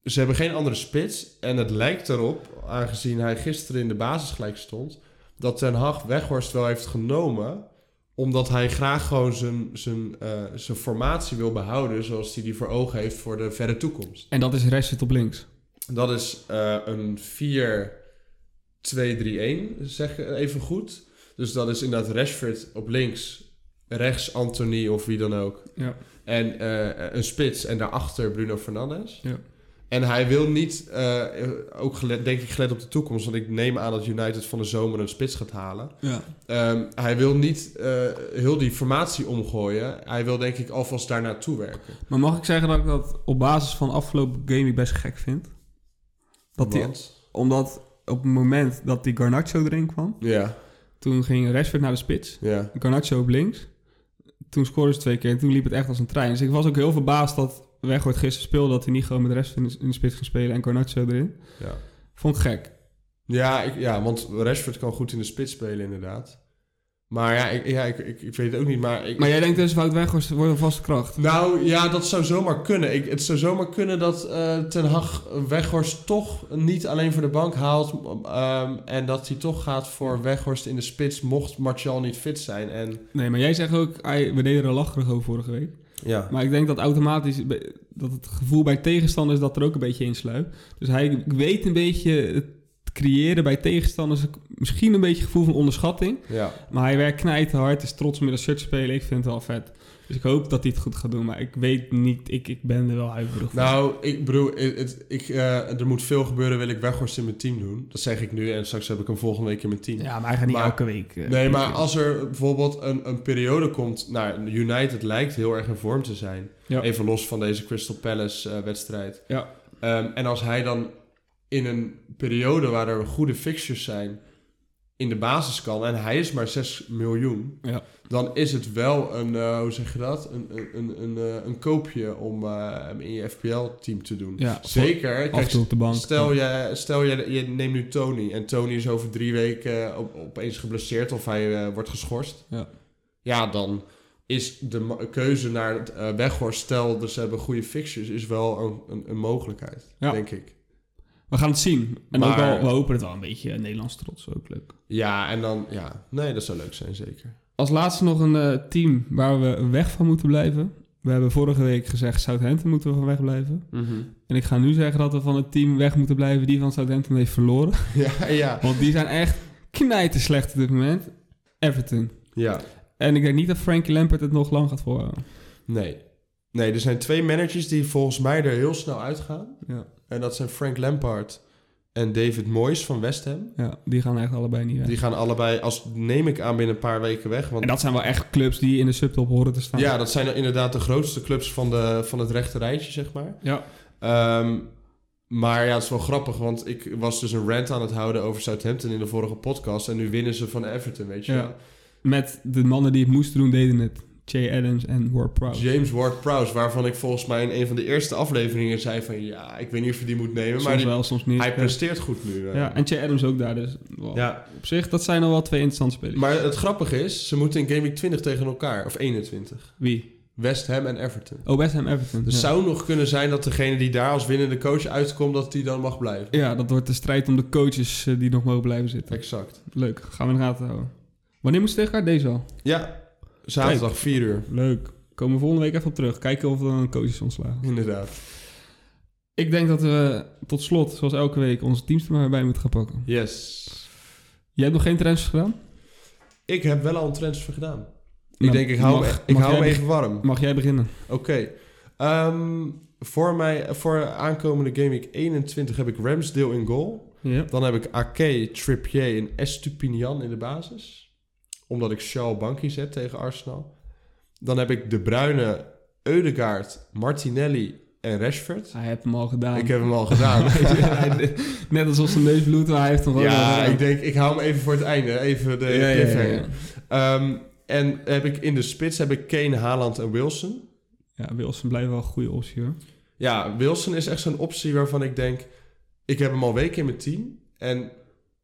Speaker 1: ze hebben geen andere spits. En het lijkt erop, aangezien hij gisteren in de basis gelijk stond, dat Ten Hag Weghorst wel heeft genomen. Omdat hij graag gewoon zijn, zijn, eh, zijn formatie wil behouden zoals hij die voor ogen heeft voor de verre toekomst.
Speaker 2: En dat is Rashford op links.
Speaker 1: Dat is eh, een 4-2-3-1, zeg even goed. Dus dat is inderdaad Rashford op links, rechts Anthony of wie dan ook.
Speaker 2: Ja.
Speaker 1: En eh, een spits en daarachter Bruno Fernandes.
Speaker 2: Ja.
Speaker 1: En hij wil niet, eh, ook gelet, denk ik gelet op de toekomst, want ik neem aan dat United van de zomer een spits gaat halen.
Speaker 2: ja.
Speaker 1: Ehm, hij wil niet eh, heel die formatie omgooien. Hij wil denk ik alvast daar naartoe werken.
Speaker 2: Maar mag ik zeggen dat ik dat op basis van afgelopen gaming best gek vind? Dat die,
Speaker 1: Want-
Speaker 2: omdat op het moment dat die Garnacho erin kwam,
Speaker 1: Ja,
Speaker 2: toen ging Rashford naar de spits.
Speaker 1: ja.
Speaker 2: Garnacho op links. Toen scoorde ze twee keer en toen liep het echt als een trein. Dus ik was ook heel verbaasd dat Weghorst gisteren speelde... dat hij niet gewoon met de rest in de, in de spits ging spelen en Garnacho erin.
Speaker 1: Ja,
Speaker 2: Vond ik gek.
Speaker 1: ja, ik, ja want Rashford kan goed in de spits spelen inderdaad. Maar ja, ik, ja, ik, ik, ik weet het ook niet. Maar, ik,
Speaker 2: Maar jij denkt dus Wout Weghorst wordt een vaste kracht.
Speaker 1: Nou ja, dat zou zomaar kunnen. Ik, het zou zomaar kunnen dat eh, Ten Hag Weghorst toch niet alleen voor de bank haalt. ehm, en dat hij toch gaat voor Weghorst in de spits, mocht Martial niet fit zijn. En,
Speaker 2: Nee, maar jij zegt ook... ai, we deden er lacherig over vorige week.
Speaker 1: ja.
Speaker 2: Maar ik denk dat automatisch... be- dat het gevoel bij tegenstanders dat er ook een beetje in sluipt. Dus hij weet een beetje... het creëren bij tegenstanders... misschien een beetje gevoel van onderschatting...
Speaker 1: ja.
Speaker 2: Maar hij werkt knijterhard, is trots om in dat shirt te spelen. Ik vind het wel vet. Dus ik hoop dat hij het goed gaat doen. Maar ik weet niet, ik, ik ben er wel huiverig voor.
Speaker 1: Nou, ik bedoel, het, het- ik, eh, er moet veel gebeuren, wil ik Weghorst in mijn team doen. Dat zeg ik nu en straks heb ik hem volgende week in mijn team.
Speaker 2: ja, maar hij gaat niet
Speaker 1: maar-
Speaker 2: elke week. eh,
Speaker 1: Nee, maar als er bijvoorbeeld een, een periode komt... Nou, United lijkt heel erg in vorm te zijn.
Speaker 2: Ja.
Speaker 1: Even los van deze Crystal Palace-wedstrijd.
Speaker 2: Ja.
Speaker 1: Ehm, en als hij dan in een periode waar er goede fixtures zijn... in de basis kan, en hij is maar 6 miljoen...
Speaker 2: Ja.
Speaker 1: dan is het wel een, eh, hoe zeg je dat? Een, een, een, een, eh, een koopje om eh, hem in je FPL-team te doen.
Speaker 2: Ja,
Speaker 1: Zeker.
Speaker 2: Dus af en
Speaker 1: Kijk,
Speaker 2: toe op de bank.
Speaker 1: Stel, je, stel je, je neemt nu Tony en Tony is over drie weken eh, op, opeens geblesseerd of hij eh, wordt geschorst.
Speaker 2: Ja.
Speaker 1: ja, dan is de ma- keuze naar het, eh, Weghorst, stel dus ze hebben goede fixtures, is wel een, een, een mogelijkheid,
Speaker 2: Ja.
Speaker 1: denk ik.
Speaker 2: We gaan het zien. En
Speaker 1: Maar-
Speaker 2: ook wel, we hopen het wel een beetje eh, Nederlands trots. Ook leuk.
Speaker 1: Ja, en dan, ja, nee, dat zou leuk zijn, zeker.
Speaker 2: Als laatste nog een eh, team waar we weg van moeten blijven. We hebben vorige week gezegd Southampton moeten we van weg blijven. En ik ga nu zeggen dat we van het team weg moeten blijven die van Southampton heeft verloren.
Speaker 1: Ja, ja,
Speaker 2: Want die zijn echt knijter slecht op dit moment. Everton.
Speaker 1: ja,
Speaker 2: En ik denk niet dat Frankie Lampert het nog lang gaat volhouden.
Speaker 1: nee. Nee, er zijn twee managers die volgens mij er heel snel uitgaan.
Speaker 2: Ja.
Speaker 1: En dat zijn Frank Lampard en David Moyes van West Ham.
Speaker 2: Ja, die gaan echt allebei niet weg.
Speaker 1: Die gaan allebei, als neem ik aan, binnen een paar weken weg. Want
Speaker 2: En dat zijn wel echt clubs die in de subtop horen te staan.
Speaker 1: ja, dat zijn inderdaad de grootste clubs van, de, van het rechte rijtje, zeg maar.
Speaker 2: Ja.
Speaker 1: Ehm, maar ja, het is wel grappig, want ik was dus een rant aan het houden over Southampton in de vorige podcast. En nu winnen ze van Everton, weet je
Speaker 2: Ja.
Speaker 1: wel.
Speaker 2: Met de mannen die het moesten doen, deden het. Jay Adams en Ward Prowse.
Speaker 1: James Ward-Prowse, waarvan ik volgens mij in een van de eerste afleveringen zei van... Ja, ik weet niet of je die moet nemen,
Speaker 2: Soms
Speaker 1: maar die-
Speaker 2: wel, soms niet.
Speaker 1: hij
Speaker 2: ja.
Speaker 1: presteert goed nu. eh.
Speaker 2: Ja, en Jay Adams ook daar. Dus wow.
Speaker 1: ja.
Speaker 2: op zich, dat zijn al wel twee interessante spelers.
Speaker 1: Maar het grappige is, ze moeten in Game Week 20 tegen elkaar. Of 21.
Speaker 2: Wie?
Speaker 1: West Ham en Everton.
Speaker 2: Oh, West Ham Everton.
Speaker 1: Dus
Speaker 2: ja.
Speaker 1: zou nog kunnen zijn dat degene die daar als winnende coach uitkomt, dat die dan mag blijven.
Speaker 2: ja, dat wordt de strijd om de coaches eh, die nog mogen blijven zitten.
Speaker 1: Exact.
Speaker 2: Leuk, gaan we in de gaten houden. Wanneer moeten ze tegen elkaar? Deze al.
Speaker 1: Ja, zaterdag 4 uur.
Speaker 2: Leuk. Komen we volgende week even op terug. Kijken of er dan een coach is ontslagen.
Speaker 1: Inderdaad.
Speaker 2: Ik denk dat we tot slot, zoals elke week, onze teams er maar bij moeten gaan pakken.
Speaker 1: Yes.
Speaker 2: Jij hebt nog geen transfers gedaan?
Speaker 1: Ik heb wel al een transfer gedaan.
Speaker 2: Nou,
Speaker 1: ik denk, ik hou,
Speaker 2: mag-
Speaker 1: me, ik
Speaker 2: mag
Speaker 1: hou
Speaker 2: jij
Speaker 1: me
Speaker 2: beg-
Speaker 1: even warm.
Speaker 2: Mag jij beginnen?
Speaker 1: Oké. Ehm, voor, mij, voor aankomende Game Week 21 heb ik Ramsdale in goal.
Speaker 2: Ja.
Speaker 1: Dan heb ik Ake, Trippier en Estupinian in de basis. Omdat ik Shaw Banky zet tegen Arsenal. Dan heb ik De Bruyne, Eudegaard, Martinelli en Rashford.
Speaker 2: Hij heeft hem al gedaan.
Speaker 1: Ik heb hem al gedaan.
Speaker 2: Hij- Net alsof zijn neus bloedt, maar hij heeft hem gewoon al
Speaker 1: ja,
Speaker 2: gedaan.
Speaker 1: ik eh, denk, ik hou hem even voor het einde. Even de
Speaker 2: Ja, ja, ja,
Speaker 1: cliffhanger.
Speaker 2: ja.
Speaker 1: Ehm, en heb ik in de spits heb ik Kane, Haaland en Wilson.
Speaker 2: Ja, Wilson blijft wel een goede optie hoor.
Speaker 1: Ja, Wilson is echt zo'n optie waarvan ik denk... Ik heb hem al weken in mijn team. En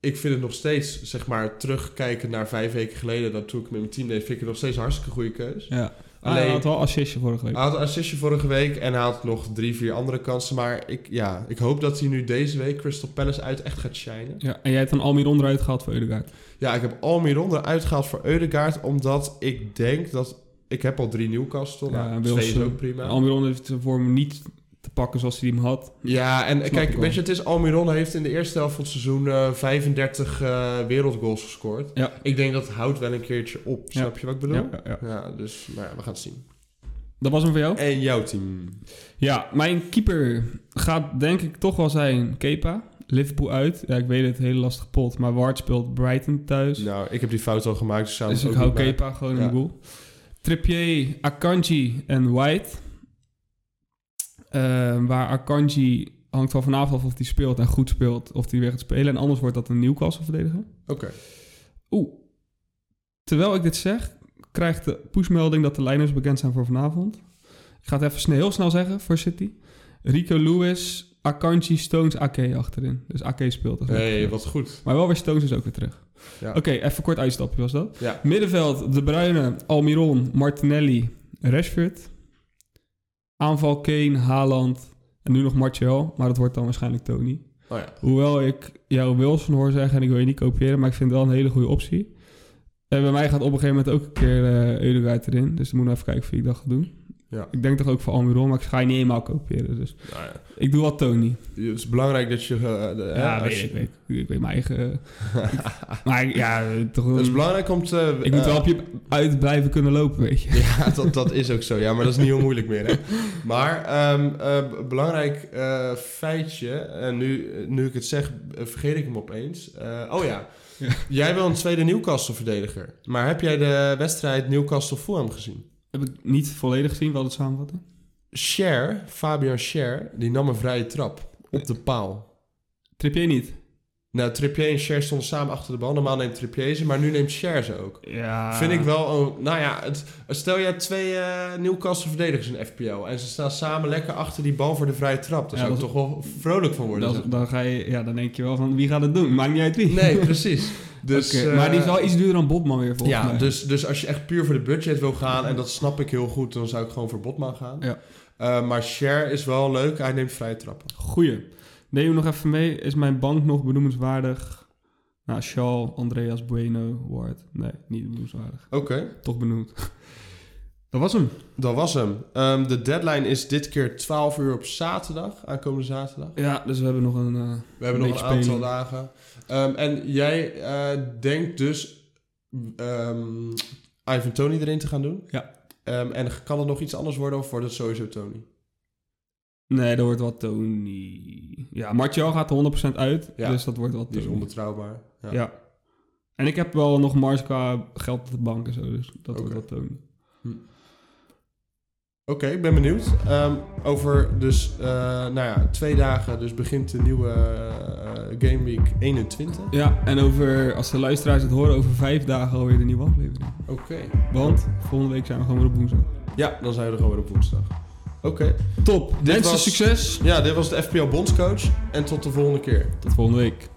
Speaker 1: ik vind het nog steeds, zeg maar, terugkijken naar vijf weken geleden... dat toen ik hem in mijn team deed, vind ik het nog steeds een hartstikke goede keus.
Speaker 2: Ja.
Speaker 1: Alleen-
Speaker 2: Hij had wel assistje vorige week.
Speaker 1: Hij had een assistje vorige week en hij had nog drie, vier andere kansen. Maar ik, ja, ik hoop dat hij nu deze week Crystal Palace uit echt gaat shinen.
Speaker 2: Ja, en jij hebt dan Almiron eruit gehaald voor Eudegaard.
Speaker 1: Ja, ik heb Almiron eruit gehaald voor Eudegaard. Omdat ik denk dat... Ik heb al drie Newcastle.
Speaker 2: Ja,
Speaker 1: nou,
Speaker 2: en
Speaker 1: twee is
Speaker 2: Wilson.
Speaker 1: ook prima.
Speaker 2: Almiron heeft zijn vorm niet te pakken zoals hij hem had.
Speaker 1: ja, en
Speaker 2: Snap ik
Speaker 1: kijk,
Speaker 2: wel.
Speaker 1: weet je, het is Almiron heeft in de eerste helft van het seizoen eh, 35 eh, wereldgoals gescoord.
Speaker 2: Ja.
Speaker 1: Ik denk dat houdt wel een keertje op.
Speaker 2: Ja.
Speaker 1: Snap je wat ik bedoel?
Speaker 2: Ja,
Speaker 1: Ja,
Speaker 2: ja, ja.
Speaker 1: dus nou ja, we gaan het zien.
Speaker 2: Dat was hem voor jou?
Speaker 1: En jouw team?
Speaker 2: Ja, mijn keeper gaat denk ik toch wel zijn Kepa. Liverpool uit. Ja, ik weet het, hele lastige pot. Maar Ward speelt Brighton thuis.
Speaker 1: Nou, ik heb die fout al gemaakt. Dus, zou
Speaker 2: dus
Speaker 1: het
Speaker 2: ik
Speaker 1: ook
Speaker 2: hou
Speaker 1: niet maken.
Speaker 2: Kepa gewoon in
Speaker 1: Ja.
Speaker 2: de goal. Trippier, Akanji en White. Eh, waar Akanji hangt wel vanavond af of hij speelt en goed speelt. Of hij weer gaat spelen. En anders wordt dat een Newcastle verdediger.
Speaker 1: Oké.
Speaker 2: Oeh. Terwijl ik dit zeg, krijgt de pushmelding dat de lijners bekend zijn voor vanavond. Ik ga het even sne- heel snel zeggen voor City. Rico Lewis, Akanji, Stones, Ake achterin. Dus Ake speelt. als
Speaker 1: Hé,
Speaker 2: rechtsback.
Speaker 1: wat goed.
Speaker 2: Maar wel weer Stones is ook weer terug.
Speaker 1: Ja.
Speaker 2: Oké, even kort uitstapje was dat.
Speaker 1: Ja.
Speaker 2: Middenveld, De Bruyne, Almiron, Martinelli, Rashford. Aanval Kane, Haaland en nu nog Martial. Maar dat wordt dan waarschijnlijk Tony.
Speaker 1: Oh ja.
Speaker 2: Hoewel ik jou Wilson hoor zeggen en ik wil je niet kopiëren, maar ik vind het wel een hele goede optie. En bij mij gaat op een gegeven moment ook een keer eh Eudegaard erin. Dus dan moeten we even kijken of ik dat ga doen.
Speaker 1: Ja.
Speaker 2: Ik denk toch ook voor Almiron, maar ik ga je niet helemaal kopiëren. Dus
Speaker 1: Nou ja.
Speaker 2: ik doe wat Tony.
Speaker 1: Het is belangrijk dat je... eh, de- hè, als je-
Speaker 2: ik, weet, ik weet mijn eigen... eh, maar ik- ja, eh, toch...
Speaker 1: Het is
Speaker 2: een-
Speaker 1: belangrijk om te...
Speaker 2: ik moet
Speaker 1: eh,
Speaker 2: wel op je uit blijven kunnen lopen, weet je.
Speaker 1: Ja, dat, dat is ook zo. Ja, maar dat is niet heel moeilijk meer. Hè? Maar ehm, eh, b- belangrijk eh, feitje. En nu, nu ik het zeg, eh, vergeet ik hem opeens. Eh, oh ja.
Speaker 2: Ja.
Speaker 1: Jij wil een tweede Newcastle-verdediger. Maar heb jij de wedstrijd Newcastle-Fulham gezien?
Speaker 2: Heb ik niet volledig gezien, wel het samenvatten.
Speaker 1: Cher, Fabian Cher, die nam een vrije trap op de paal.
Speaker 2: Trippier niet?
Speaker 1: Nou, Trippier en Cher stonden samen achter de bal. Normaal neemt Trippier ze, maar nu neemt Cher ze ook.
Speaker 2: Ja.
Speaker 1: Vind ik wel... Een, nou ja, het, stel jij twee eh, Newcastle-verdedigers in FPL... en ze staan samen lekker achter die bal voor de vrije trap. Daar
Speaker 2: Ja,
Speaker 1: zou ik
Speaker 2: dat-
Speaker 1: toch wel vrolijk van worden.
Speaker 2: Dan, dan, ga je, ja, dan denk je wel van, wie gaat het doen? Maakt niet uit wie.
Speaker 1: dus Nee, precies. Dus,
Speaker 2: Oké,
Speaker 1: eh,
Speaker 2: maar die is wel iets duurder dan Botman weer volgens
Speaker 1: Ja,
Speaker 2: mij.
Speaker 1: dus, dus als je echt puur voor de budget wil gaan... en dat snap ik heel goed, dan zou ik gewoon voor Botman gaan.
Speaker 2: Ja.
Speaker 1: Eh, maar Cher is wel leuk. Hij neemt vrije trappen.
Speaker 2: Goeie. Neem hem nog even mee. Is mijn bank nog benoemenswaardig? Nou, Shaw, Andreas Bueno, Ward. Nee, niet benoemenswaardig.
Speaker 1: Oké,
Speaker 2: Toch benoemd. Dat was hem.
Speaker 1: dat was hem. Ehm, de deadline is dit keer 12 uur op zaterdag. Aankomende zaterdag.
Speaker 2: Ja, dus we hebben nog een... eh,
Speaker 1: We hebben nog een
Speaker 2: Beetje
Speaker 1: aantal
Speaker 2: spelen.
Speaker 1: dagen. Ehm, en jij eh, denkt dus ehm, Ivan Tony erin te gaan doen?
Speaker 2: Ja.
Speaker 1: Ehm, en kan het nog iets anders worden of wordt het sowieso Tony?
Speaker 2: Nee, dat wordt wat Tony. Ja, Martial gaat er 100% uit.
Speaker 1: Ja.
Speaker 2: Dus dat wordt wat
Speaker 1: Die is
Speaker 2: Tony.
Speaker 1: onbetrouwbaar. Ja.
Speaker 2: Ja. En ik heb wel nog mars qua geld op de bank en zo. Dus
Speaker 1: Oké.
Speaker 2: dat wordt wat Tony.
Speaker 1: Oké, ik ben benieuwd. Ehm, over dus, eh, nou ja, twee dagen dus begint de nieuwe eh, Game Week 21.
Speaker 2: Ja, en over, als de luisteraars het horen, over vijf dagen alweer de nieuwe aflevering.
Speaker 1: Oké.
Speaker 2: Want volgende week zijn we gewoon weer op woensdag.
Speaker 1: Ja, dan zijn we er gewoon weer op woensdag. Oké.
Speaker 2: Top. Mensen,
Speaker 1: was-
Speaker 2: succes.
Speaker 1: Ja, dit was de FPL Bondscoach. En tot de volgende keer.
Speaker 2: Tot volgende week.